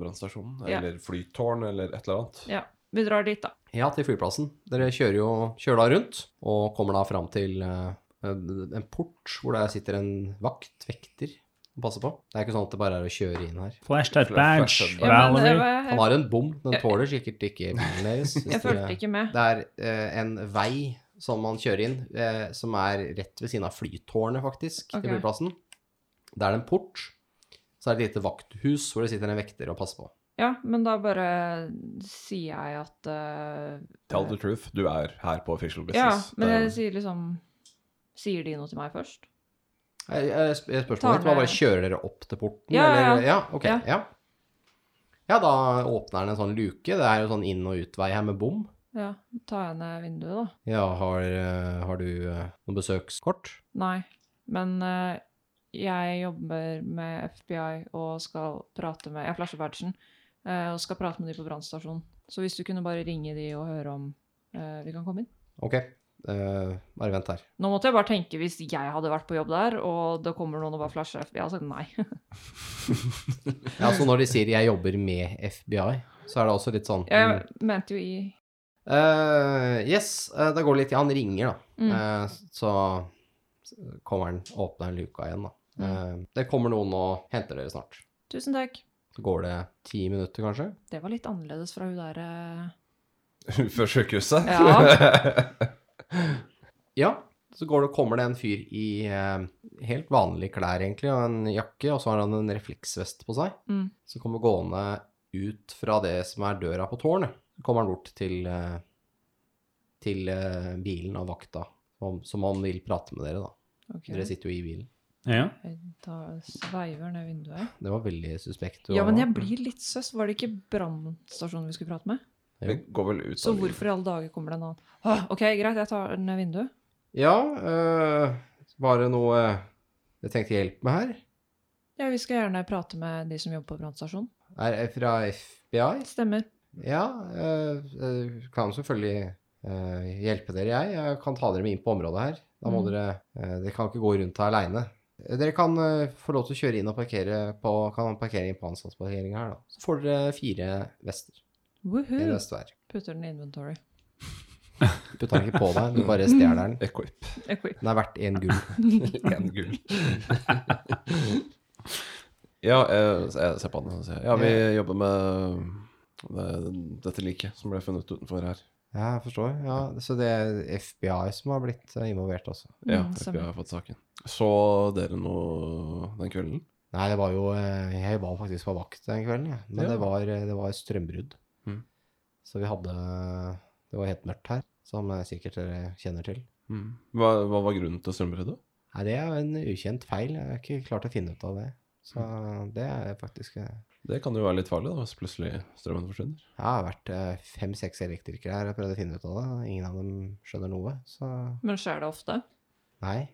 [SPEAKER 2] brannstasjonen,
[SPEAKER 3] Ja.
[SPEAKER 2] eller flytårn, eller et eller annet.
[SPEAKER 3] ja, vi drar dit, da.
[SPEAKER 1] Ja, til flyplassen. Dere kjører jo kjører da rundt, og kommer da fram til eh, en en port hvor det sitter en vakt, vekter, og passer på. Det er ikke sånn at det bare er å kjøre inn her.
[SPEAKER 4] Flashlight badge,
[SPEAKER 2] Flashlight badge.
[SPEAKER 3] Ja, men,
[SPEAKER 4] Valerie.
[SPEAKER 3] eh,
[SPEAKER 1] Han har en bom, den
[SPEAKER 3] Jeg-
[SPEAKER 1] tåler sikkert ikke bilen deres. hvis dere-
[SPEAKER 3] jeg fulgte ikke med.
[SPEAKER 1] Det er eh, en vei som man kjører inn, eh, som er rett ved siden av flytårnet, faktisk,
[SPEAKER 3] Ok.
[SPEAKER 1] til flyplassen. Det er det en port, så er det et lite vakthus hvor det sitter en vekter og passer på.
[SPEAKER 3] Ja, men da bare sier jeg at eh,
[SPEAKER 2] Tell the truth, du er her på official
[SPEAKER 3] Ja,
[SPEAKER 2] business.
[SPEAKER 3] men jeg
[SPEAKER 2] Det
[SPEAKER 3] sier liksom Sier de noe til meg først?
[SPEAKER 1] Jeg, jeg, eh, sp-
[SPEAKER 3] Tar
[SPEAKER 1] spørsmålet mitt var
[SPEAKER 3] med-
[SPEAKER 1] bare kjører dere opp til porten?
[SPEAKER 3] Ja, ja, ja.
[SPEAKER 1] eller, ja. ok,
[SPEAKER 3] Ja.
[SPEAKER 1] ja. Ja, da åpner den en sånn luke. Det er jo sånn inn- og utvei her med bom.
[SPEAKER 3] Ja, tar jeg ned vinduet, da?
[SPEAKER 1] Ja, har, eh, har du eh, noen besøkskort?
[SPEAKER 3] Nei. Men eh, jeg jobber med FBI og skal prate med Jeg flasher badgen eh, og skal prate med de på brannstasjonen. Så hvis du kunne bare ringe de og høre om eh, vi kan komme inn.
[SPEAKER 1] Ok, eh, bare vent her.
[SPEAKER 3] Nå måtte jeg bare tenke hvis jeg hadde vært på jobb der, og det kommer noen og bare flasher FBI, hadde jeg sagt nei.
[SPEAKER 1] Ja, så når de sier 'jeg jobber med FBI', så er det også litt sånn mm.
[SPEAKER 3] Jeg mente jo i
[SPEAKER 1] Eh, yes, eh, da går det litt Ja, han ringer, da.
[SPEAKER 3] Mm.
[SPEAKER 1] Eh, så kommer han åpner han luka igjen, da.
[SPEAKER 3] Mm.
[SPEAKER 1] Eh, det kommer noen og henter dere snart.
[SPEAKER 3] Tusen takk.
[SPEAKER 1] Så går det ti minutter, kanskje.
[SPEAKER 3] Det var litt annerledes fra hun der eh.
[SPEAKER 2] er jo- Før sykehuset.
[SPEAKER 1] Ja, så går det, kommer det en fyr i eh, helt vanlige klær, egentlig, og en jakke, og så har han en refleksvest på seg.
[SPEAKER 3] Mm.
[SPEAKER 1] Så kommer gående ut fra det som er døra på tårnet. Så kommer han bort til, eh, til eh, bilen og vakta, som, som han vil prate med dere, da.
[SPEAKER 3] Ok.
[SPEAKER 1] Dere sitter jo i bilen.
[SPEAKER 4] Ja.
[SPEAKER 3] Jeg tar- sveiver ned vinduet.
[SPEAKER 1] Det var veldig suspekt. å-
[SPEAKER 3] Ja, men jeg blir litt søs. Var det ikke brannstasjonen vi skulle prate med?
[SPEAKER 2] Det går vel ut
[SPEAKER 3] Så
[SPEAKER 2] av livet.
[SPEAKER 3] hvorfor i alle dager kommer det en annen? Åh, ok, greit, jeg tar ned vinduet.
[SPEAKER 1] Ja, øh, var det noe jeg tenkte hjelp med her?
[SPEAKER 3] Ja, vi skal gjerne prate med de som jobber på brannstasjonen.
[SPEAKER 1] Er det fra FBI?
[SPEAKER 3] Stemmer.
[SPEAKER 1] Ja, øh, øh, kan selvfølgelig øh, hjelpe dere, jeg. Jeg kan ta dere med inn på området her. Da må
[SPEAKER 3] Mm.
[SPEAKER 1] dere øh, Dere kan ikke gå rundt her aleine. Dere kan øh, få lov til å kjøre inn og parkere på, kan parkere inn på ansvarsparkeringa her, da. Så får dere fire vester. En
[SPEAKER 3] Woohoo!
[SPEAKER 1] vest hver.
[SPEAKER 3] Putter den i inventory.
[SPEAKER 1] Du tar den ikke på deg, du bare stjeler den.
[SPEAKER 2] Equip.
[SPEAKER 3] Equip.
[SPEAKER 1] Den er verdt én gull.
[SPEAKER 2] Én gull. ja, jeg, jeg ser på han og sier Ja, vi jobber med det- dette liket som ble funnet utenfor her.
[SPEAKER 1] Ja, jeg forstår. Ja, så det er FBI som har blitt eh, involvert, altså.
[SPEAKER 2] Ja,
[SPEAKER 3] Mm,
[SPEAKER 2] vi
[SPEAKER 3] stemmer.
[SPEAKER 2] har fått saken. Så dere noe den kvelden?
[SPEAKER 1] Nei, det var jo eh, Jeg var faktisk på vakt den kvelden, jeg. Men
[SPEAKER 2] Ja.
[SPEAKER 1] det, var, eh, det var strømbrudd.
[SPEAKER 2] Mhm.
[SPEAKER 1] Så vi hadde Det var helt mørkt her, som eh, sikkert dere kjenner til.
[SPEAKER 2] Mm. Hva, hva var grunnen til strømbruddet?
[SPEAKER 1] Nei, det er jo en ukjent feil. Jeg har ikke klart å finne ut av det. Så det er faktisk eh,
[SPEAKER 2] Det kan jo være litt farlig da, hvis plutselig strømmen forsvinner.
[SPEAKER 1] Jeg har vært eh, fem-seks elektrikere her og prøvd å finne ut av det. Ingen av dem skjønner noe. Så
[SPEAKER 3] Men skjer det ofte?
[SPEAKER 1] nei.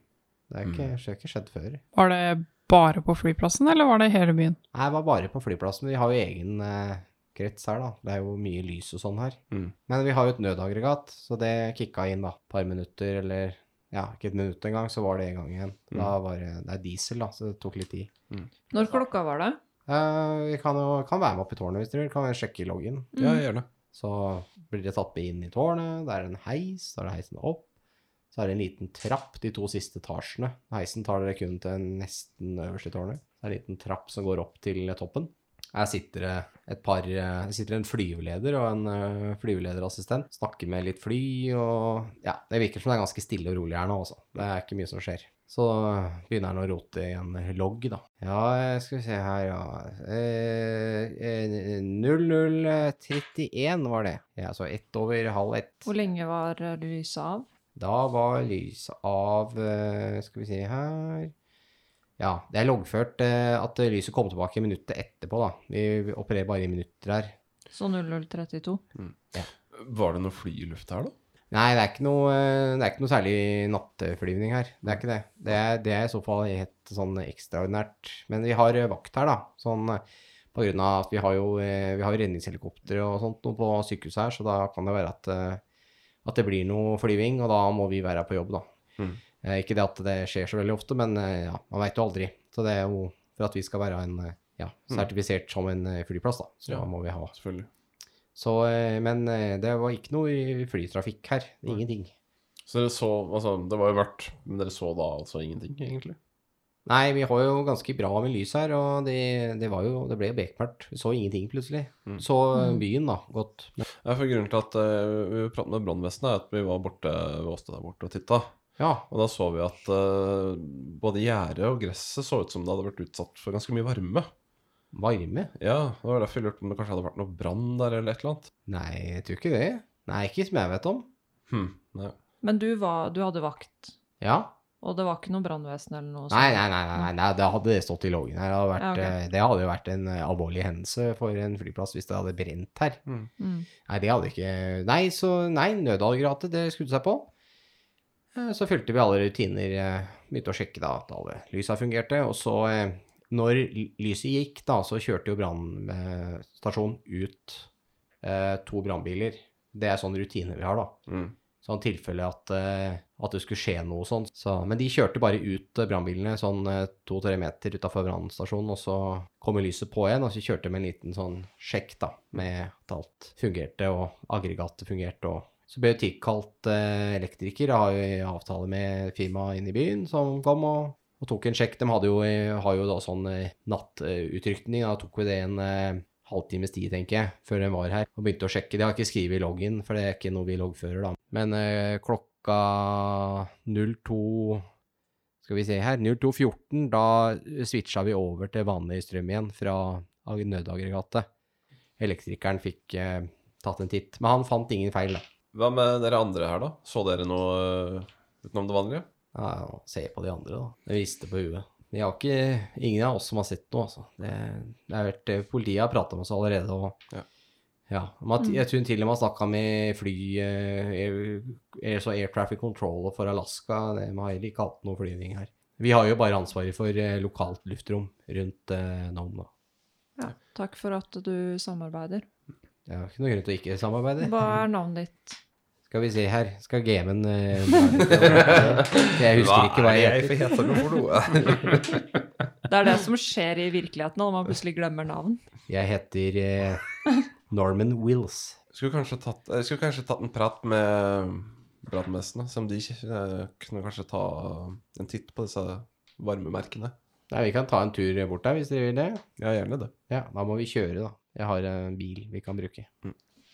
[SPEAKER 1] Det er ikke, det har ikke skjedd før.
[SPEAKER 5] Var det bare på flyplassen, eller var det hele byen?
[SPEAKER 1] Nei, det var bare på flyplassen. Vi har jo egen eh, krets her, da. Det er jo mye lys og sånn her.
[SPEAKER 2] Mm.
[SPEAKER 1] Men vi har jo et nødaggregat, så det kicka inn da. Et par minutter, eller ja, ikke et minutt engang, så var det i gang igjen. Da var det, det er diesel, da, så det tok litt tid.
[SPEAKER 3] Når klokka var det?
[SPEAKER 1] Eh, vi kan jo kan være med opp i tårnet hvis dere vil. Kan vi sjekke loggen.
[SPEAKER 3] Mm.
[SPEAKER 2] Ja, gjerne.
[SPEAKER 1] Så blir dere tatt med inn i tårnet. Det er en heis, da er det heisen opp. Så er det en liten trapp de to siste etasjene. Heisen tar dere kun til nesten øverste tårnet. Det er en liten trapp som går opp til toppen. Her sitter det et par eh, Det sitter en flyveleder og en eh, flyvelederassistent. Snakker med litt fly og Ja, det virker som det er ganske stille og rolig her nå, altså. Det er ikke mye som skjer. Så eh, begynner han å rote i en logg, da. Ja, eh, skal vi se her, ja. Eh, eh, 0031 var det. Ja, så ett over halv ett.
[SPEAKER 3] Hvor lenge var eh, lyset av?
[SPEAKER 1] Da var lyset av eh, Skal vi se her Ja, det er loggført eh, at lyset kom tilbake minuttet etterpå, da. Vi opererer bare i minutter her.
[SPEAKER 3] Så 0032.
[SPEAKER 2] Var det noe fly i lufta her, da?
[SPEAKER 1] Nei, det er ikke noe, eh, det er ikke noe særlig nattflyvning her. Det er ikke det. Det er, det er i så fall helt sånn ekstraordinært. Men vi har eh, vakt her, da. Sånn eh, på grunn av at vi har jo eh, vi har jo redningshelikoptre og sånt noe på sykehuset her, så da kan det være at, eh, at det blir noe flyving, og da må vi være på jobb, da.
[SPEAKER 2] Mm.
[SPEAKER 1] Eh, Ikke det at det skjer så veldig ofte, men eh, ja, man veit jo aldri. Så det er jo for at vi skal være en, eh, ja, sertifisert som en eh, flyplass, da. Så
[SPEAKER 2] Mm. Ja.
[SPEAKER 1] da må vi ha
[SPEAKER 2] Selvfølgelig.
[SPEAKER 1] så, eh, men eh, det var ikke noe i flytrafikk her. Ingenting.
[SPEAKER 2] Så dere så Altså, det var jo mørkt, men dere så da altså ingenting, egentlig?
[SPEAKER 1] Nei, vi har jo ganske bra med lys her, og det, det, var jo, det ble jo bekmørkt. Vi så ingenting plutselig.
[SPEAKER 2] Mm.
[SPEAKER 1] Så eh, byen, da, godt. Men,
[SPEAKER 2] Ja, for grunnen til at eh, vi pratet med brannvesenet, er at vi var borte ved Åste der borte og titta.
[SPEAKER 1] ja,
[SPEAKER 2] Og da så vi at eh, både gjerdet og gresset så ut som det hadde vært utsatt for ganske mye varme.
[SPEAKER 1] varme?
[SPEAKER 2] Ja, det var derfor jeg lurte om det kanskje hadde vært noe brann der eller et eller annet.
[SPEAKER 1] Nei, jeg tror ikke det. Nei, ikke som jeg vet om.
[SPEAKER 2] Hm, nei.
[SPEAKER 3] Men du, var, du hadde vakt,
[SPEAKER 1] Ja.
[SPEAKER 3] og det var ikke noe brannvesen eller noe? sånt?
[SPEAKER 1] Nei, nei, nei, nei, nei, nei da hadde det stått i loggen her. Det hadde, vært,
[SPEAKER 3] sånn. Ja, ok.
[SPEAKER 1] eh, det hadde jo vært en eh, alvorlig hendelse for en flyplass hvis det hadde brent her.
[SPEAKER 3] Mm.
[SPEAKER 1] Nei, det hadde ikke Nei, så nei, nødaggregatet, det skrudde seg på. Eh, Så fylte vi alle rutiner, eh, begynte å sjekke da at alle lysa fungerte. Og så, eh, når l- lyset gikk, da, så kjørte jo brannstasjonen ut eh, to brannbiler. Det er sånne rutiner vi har, da.
[SPEAKER 2] Mm.
[SPEAKER 1] Sånn tilfelle at, eh, at det skulle skje noe sånt. Så, men de kjørte bare ut eh, brannbilene sånn eh, to-tre meter utafor brannstasjonen, og så kom lyset på igjen, og så kjørte de en liten sånn sjekk da, med at alt fungerte, og aggregatet fungerte, og så ble jo tilkalt eh, elektriker, da har jo avtale med firmaet inne i byen, som kom og, og tok en sjekk. De hadde jo, har jo da sånn eh, nattutrykning, da tok vi det en eh, halvtimes tid, tenker jeg, før den var her, og begynte å sjekke. De har ikke skrevet i loggen, for det er ikke noe vi loggfører, da. Men eh, klokka 02 Skal vi se her 02.14, da switcha vi over til vanlig strøm igjen fra ag- nødaggregatet. Elektrikeren fikk eh, tatt en titt, men han fant ingen feil, da.
[SPEAKER 2] Hva med dere andre her, da? Så dere noe eh, utenom det vanlige?
[SPEAKER 1] Ja, ja, se på de andre, da. Det rister på huet. Vi har ikke, ingen av oss som har sett noe, altså. Det, det har vært, eh, politiet har prata med oss allerede. Og,
[SPEAKER 2] Ja.
[SPEAKER 1] Ja, man- Jeg tror til og med har snakka med fly eh, air, air, så air Traffic Control for Alaska. De har heller ikke hatt noe flyvning her. Vi har jo bare ansvaret for eh, lokalt luftrom rundt eh, Nome. da.
[SPEAKER 3] Ja, takk for at du samarbeider.
[SPEAKER 1] Det er jo ikke noe grunn til å ikke samarbeide.
[SPEAKER 3] Hva er navnet ditt?
[SPEAKER 1] Skal vi se her, skal gamen eh, Jeg husker ikke hva jeg heter.
[SPEAKER 2] for heter det for noe?
[SPEAKER 3] Det er det som skjer i virkeligheten når man plutselig glemmer navn.
[SPEAKER 1] Jeg heter eh, Norman Wills.
[SPEAKER 2] Skulle kanskje tatt, eh, skulle kanskje tatt en prat med brannvesenet, se om de eh, kunne kanskje ta en titt på disse varmemerkene.
[SPEAKER 1] Nei, vi kan ta en tur bort der hvis dere vil det.
[SPEAKER 2] Ja, gjerne det.
[SPEAKER 1] Ja, da må vi kjøre, da. Jeg har en bil vi kan bruke.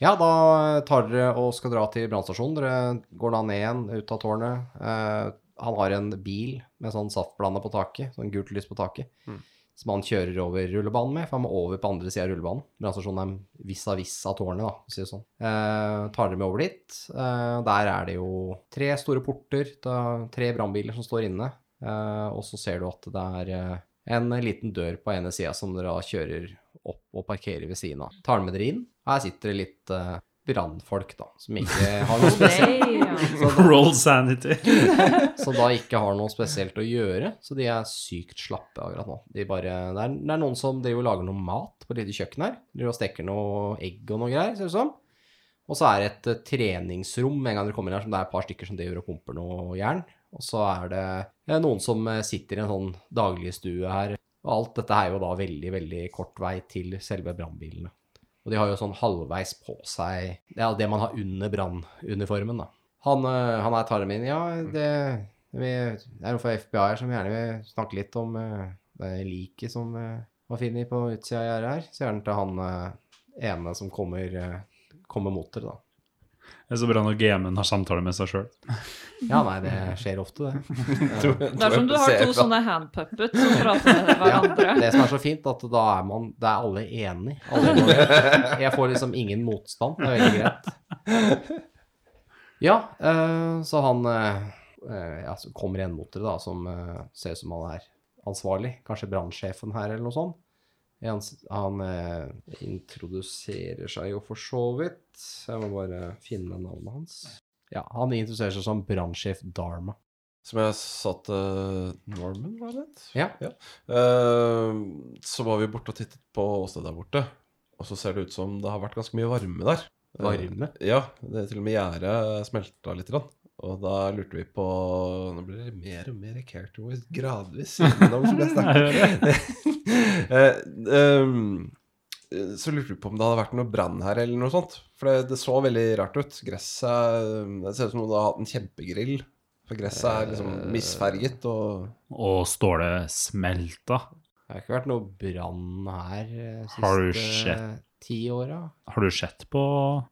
[SPEAKER 1] Ja, da tar dere og skal dra til brannstasjonen. Dere går da ned igjen, ut av tårnet. Eh, han har en bil med sånn saftblanda på taket, sånn gult lys på taket,
[SPEAKER 2] Mm.
[SPEAKER 1] som han kjører over rullebanen med, for han må over på andre sida av rullebanen. altså Brannstasjonen er vis-à-vis av tårnet, da, for å si det sånn. Eh, tar dere med over dit. Eh, der er det jo tre store porter, da, tre brannbiler som står inne, eh, og så ser du at det er eh, en liten dør på ene sida som dere da kjører opp og parkerer ved siden av. Tar den med dere inn. Her sitter det litt eh, brannfolk, da, som ikke har noe spesielt.
[SPEAKER 4] Roll sanity.
[SPEAKER 1] Som da ikke har noe spesielt å gjøre, så de er sykt slappe akkurat nå. De bare, det, er, det er noen som driver og lager noe mat på et lite kjøkken her. Driver og steker noe egg og noe greier, ser det ut som. Og så er det et eh, treningsrom med en gang dere kommer inn her, som det er et par stykker som driver og pumper noe jern. Og så er det eh, noen som eh, sitter i en sånn dagligstue her. Og alt dette er jo da veldig, veldig kort vei til selve brannbilene. Og de har jo sånn halvveis på seg Det er det man har under brannuniformen, da. Han, øh, han er tarmen min. Ja, det, vi, det er noen fra FBI her som gjerne vil snakke litt om øh, det eh, liket som øh, Hva finner vi på utsida av gjerdet her? Sier han til han eh, ene som kommer, eh, kommer mot dere, da.
[SPEAKER 4] Det er så bra når GM-en har samtale med seg sjøl.
[SPEAKER 1] Ja, nei, det skjer ofte, det.
[SPEAKER 3] Det er som du har to sånne handpuppets som prater med hverandre.
[SPEAKER 1] Det som er så fint, at da er man Da er alle enig. Alle er enige. jeg får liksom ingen motstand. Det er veldig greit. Ja, eh, så han eh, eh, ja, så kommer en mot dere, da, som eh, ser ut som han er ansvarlig. Kanskje brannsjefen her, eller noe sånt. Han, han eh, introduserer seg jo for så vidt. Jeg må bare finne navnet hans. Ja, han introduserer seg som brannsjef Dharma.
[SPEAKER 2] Som jeg sa til Norman, var det litt?
[SPEAKER 1] Ja.
[SPEAKER 2] Eh, så var vi borte og tittet på åstedet der borte. Og så ser det ut som det har vært ganske mye varme der. Eh,
[SPEAKER 1] Varme?
[SPEAKER 2] ja. det er Til og med gjerdet smelta litt. Grann. Og da lurte vi på Nå blir det mer og mer character voice gradvis. innom som jeg snakker. Eh, ehm, eh, så lurte vi på om det hadde vært noe brann her, eller noe sånt. For det, det så veldig rart ut. Gresset eh, Det ser ut som noen har hatt en kjempegrill. For gresset er liksom misfarget og
[SPEAKER 4] Og Ståle smelta.
[SPEAKER 1] Det har ikke vært noe brann her eh, siste
[SPEAKER 4] Har du sett?
[SPEAKER 1] ti åra.
[SPEAKER 4] Har du sett på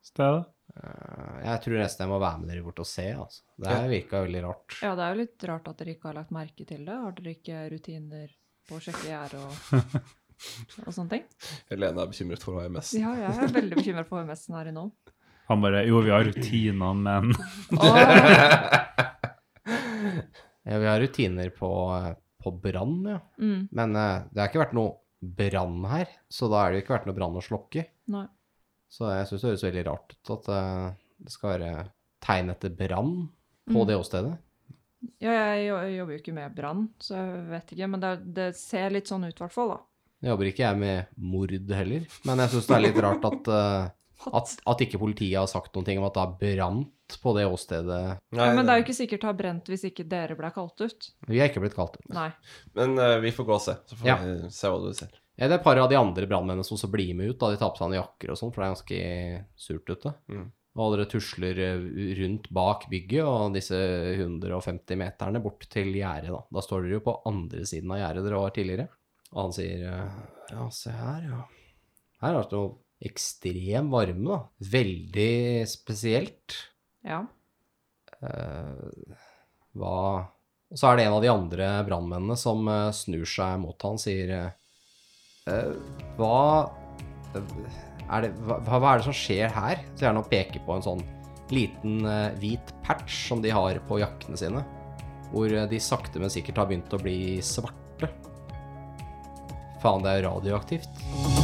[SPEAKER 4] stedet?
[SPEAKER 1] Eh, Jeg tror nesten jeg må være med dere bort og se. Altså. Det her virka veldig rart.
[SPEAKER 3] Ja, det er jo litt rart at dere ikke har lagt merke til det. Har dere ikke rutiner på å sjekke gjerde og, og sånne ting?
[SPEAKER 2] Helene er bekymret for HMS.
[SPEAKER 3] Ja, jeg er veldig bekymra for HMS-en her innom.
[SPEAKER 4] Han bare Jo, vi har rutinene, men
[SPEAKER 3] Åh,
[SPEAKER 1] Ja, vi har rutiner på, eh, på brann, ja.
[SPEAKER 3] mm,
[SPEAKER 1] Men eh, det har ikke vært noe brann her, så da har det ikke vært noe brann å slokke.
[SPEAKER 3] nei.
[SPEAKER 1] Så jeg syns det høres veldig rart ut at eh, det skal være tegn etter brann på
[SPEAKER 3] Mm.
[SPEAKER 1] det åstedet.
[SPEAKER 3] Ja, jeg jo- jeg jobber jo ikke med brann, så jeg vet ikke. Men det, er- det ser litt sånn ut, i hvert fall. da.
[SPEAKER 1] Nå jobber ikke jeg med mord heller, men jeg syns det er litt rart at, eh, at, at ikke politiet har sagt noen ting om at det har brant på det åstedet.
[SPEAKER 2] Nei,
[SPEAKER 3] Ja, men det er jo ikke sikkert det har brent hvis ikke dere ble kalt ut.
[SPEAKER 1] Vi har ikke blitt kalt ut.
[SPEAKER 3] Nei.
[SPEAKER 2] men, eh, vi får gå og se. Så får
[SPEAKER 1] Ja.
[SPEAKER 2] vi se hva du ser.
[SPEAKER 1] Ja, det er et par av de andre brannmennene som også blir med ut. da De tar på seg noen jakker og sånn, for det er ganske surt ute.
[SPEAKER 2] Mm.
[SPEAKER 1] Og dere tusler eh, rundt bak bygget og disse 150 meterne bort til gjerdet. Da Da står dere jo på andre siden av gjerdet dere var tidligere. Og han sier eh, Ja, se her, ja. Her har det noe ekstrem varme, da. Veldig spesielt.
[SPEAKER 3] Ja.
[SPEAKER 1] Eh, hva Og så er det en av de andre brannmennene som eh, snur seg mot han sier eh, eh, Hva eh, er det, hva, hva er det som skjer her? Så gjerne å peke på en sånn liten eh, hvit patch som de har på jakkene sine. Hvor eh, de sakte, men sikkert har begynt å bli svarte. Faen, det er radioaktivt.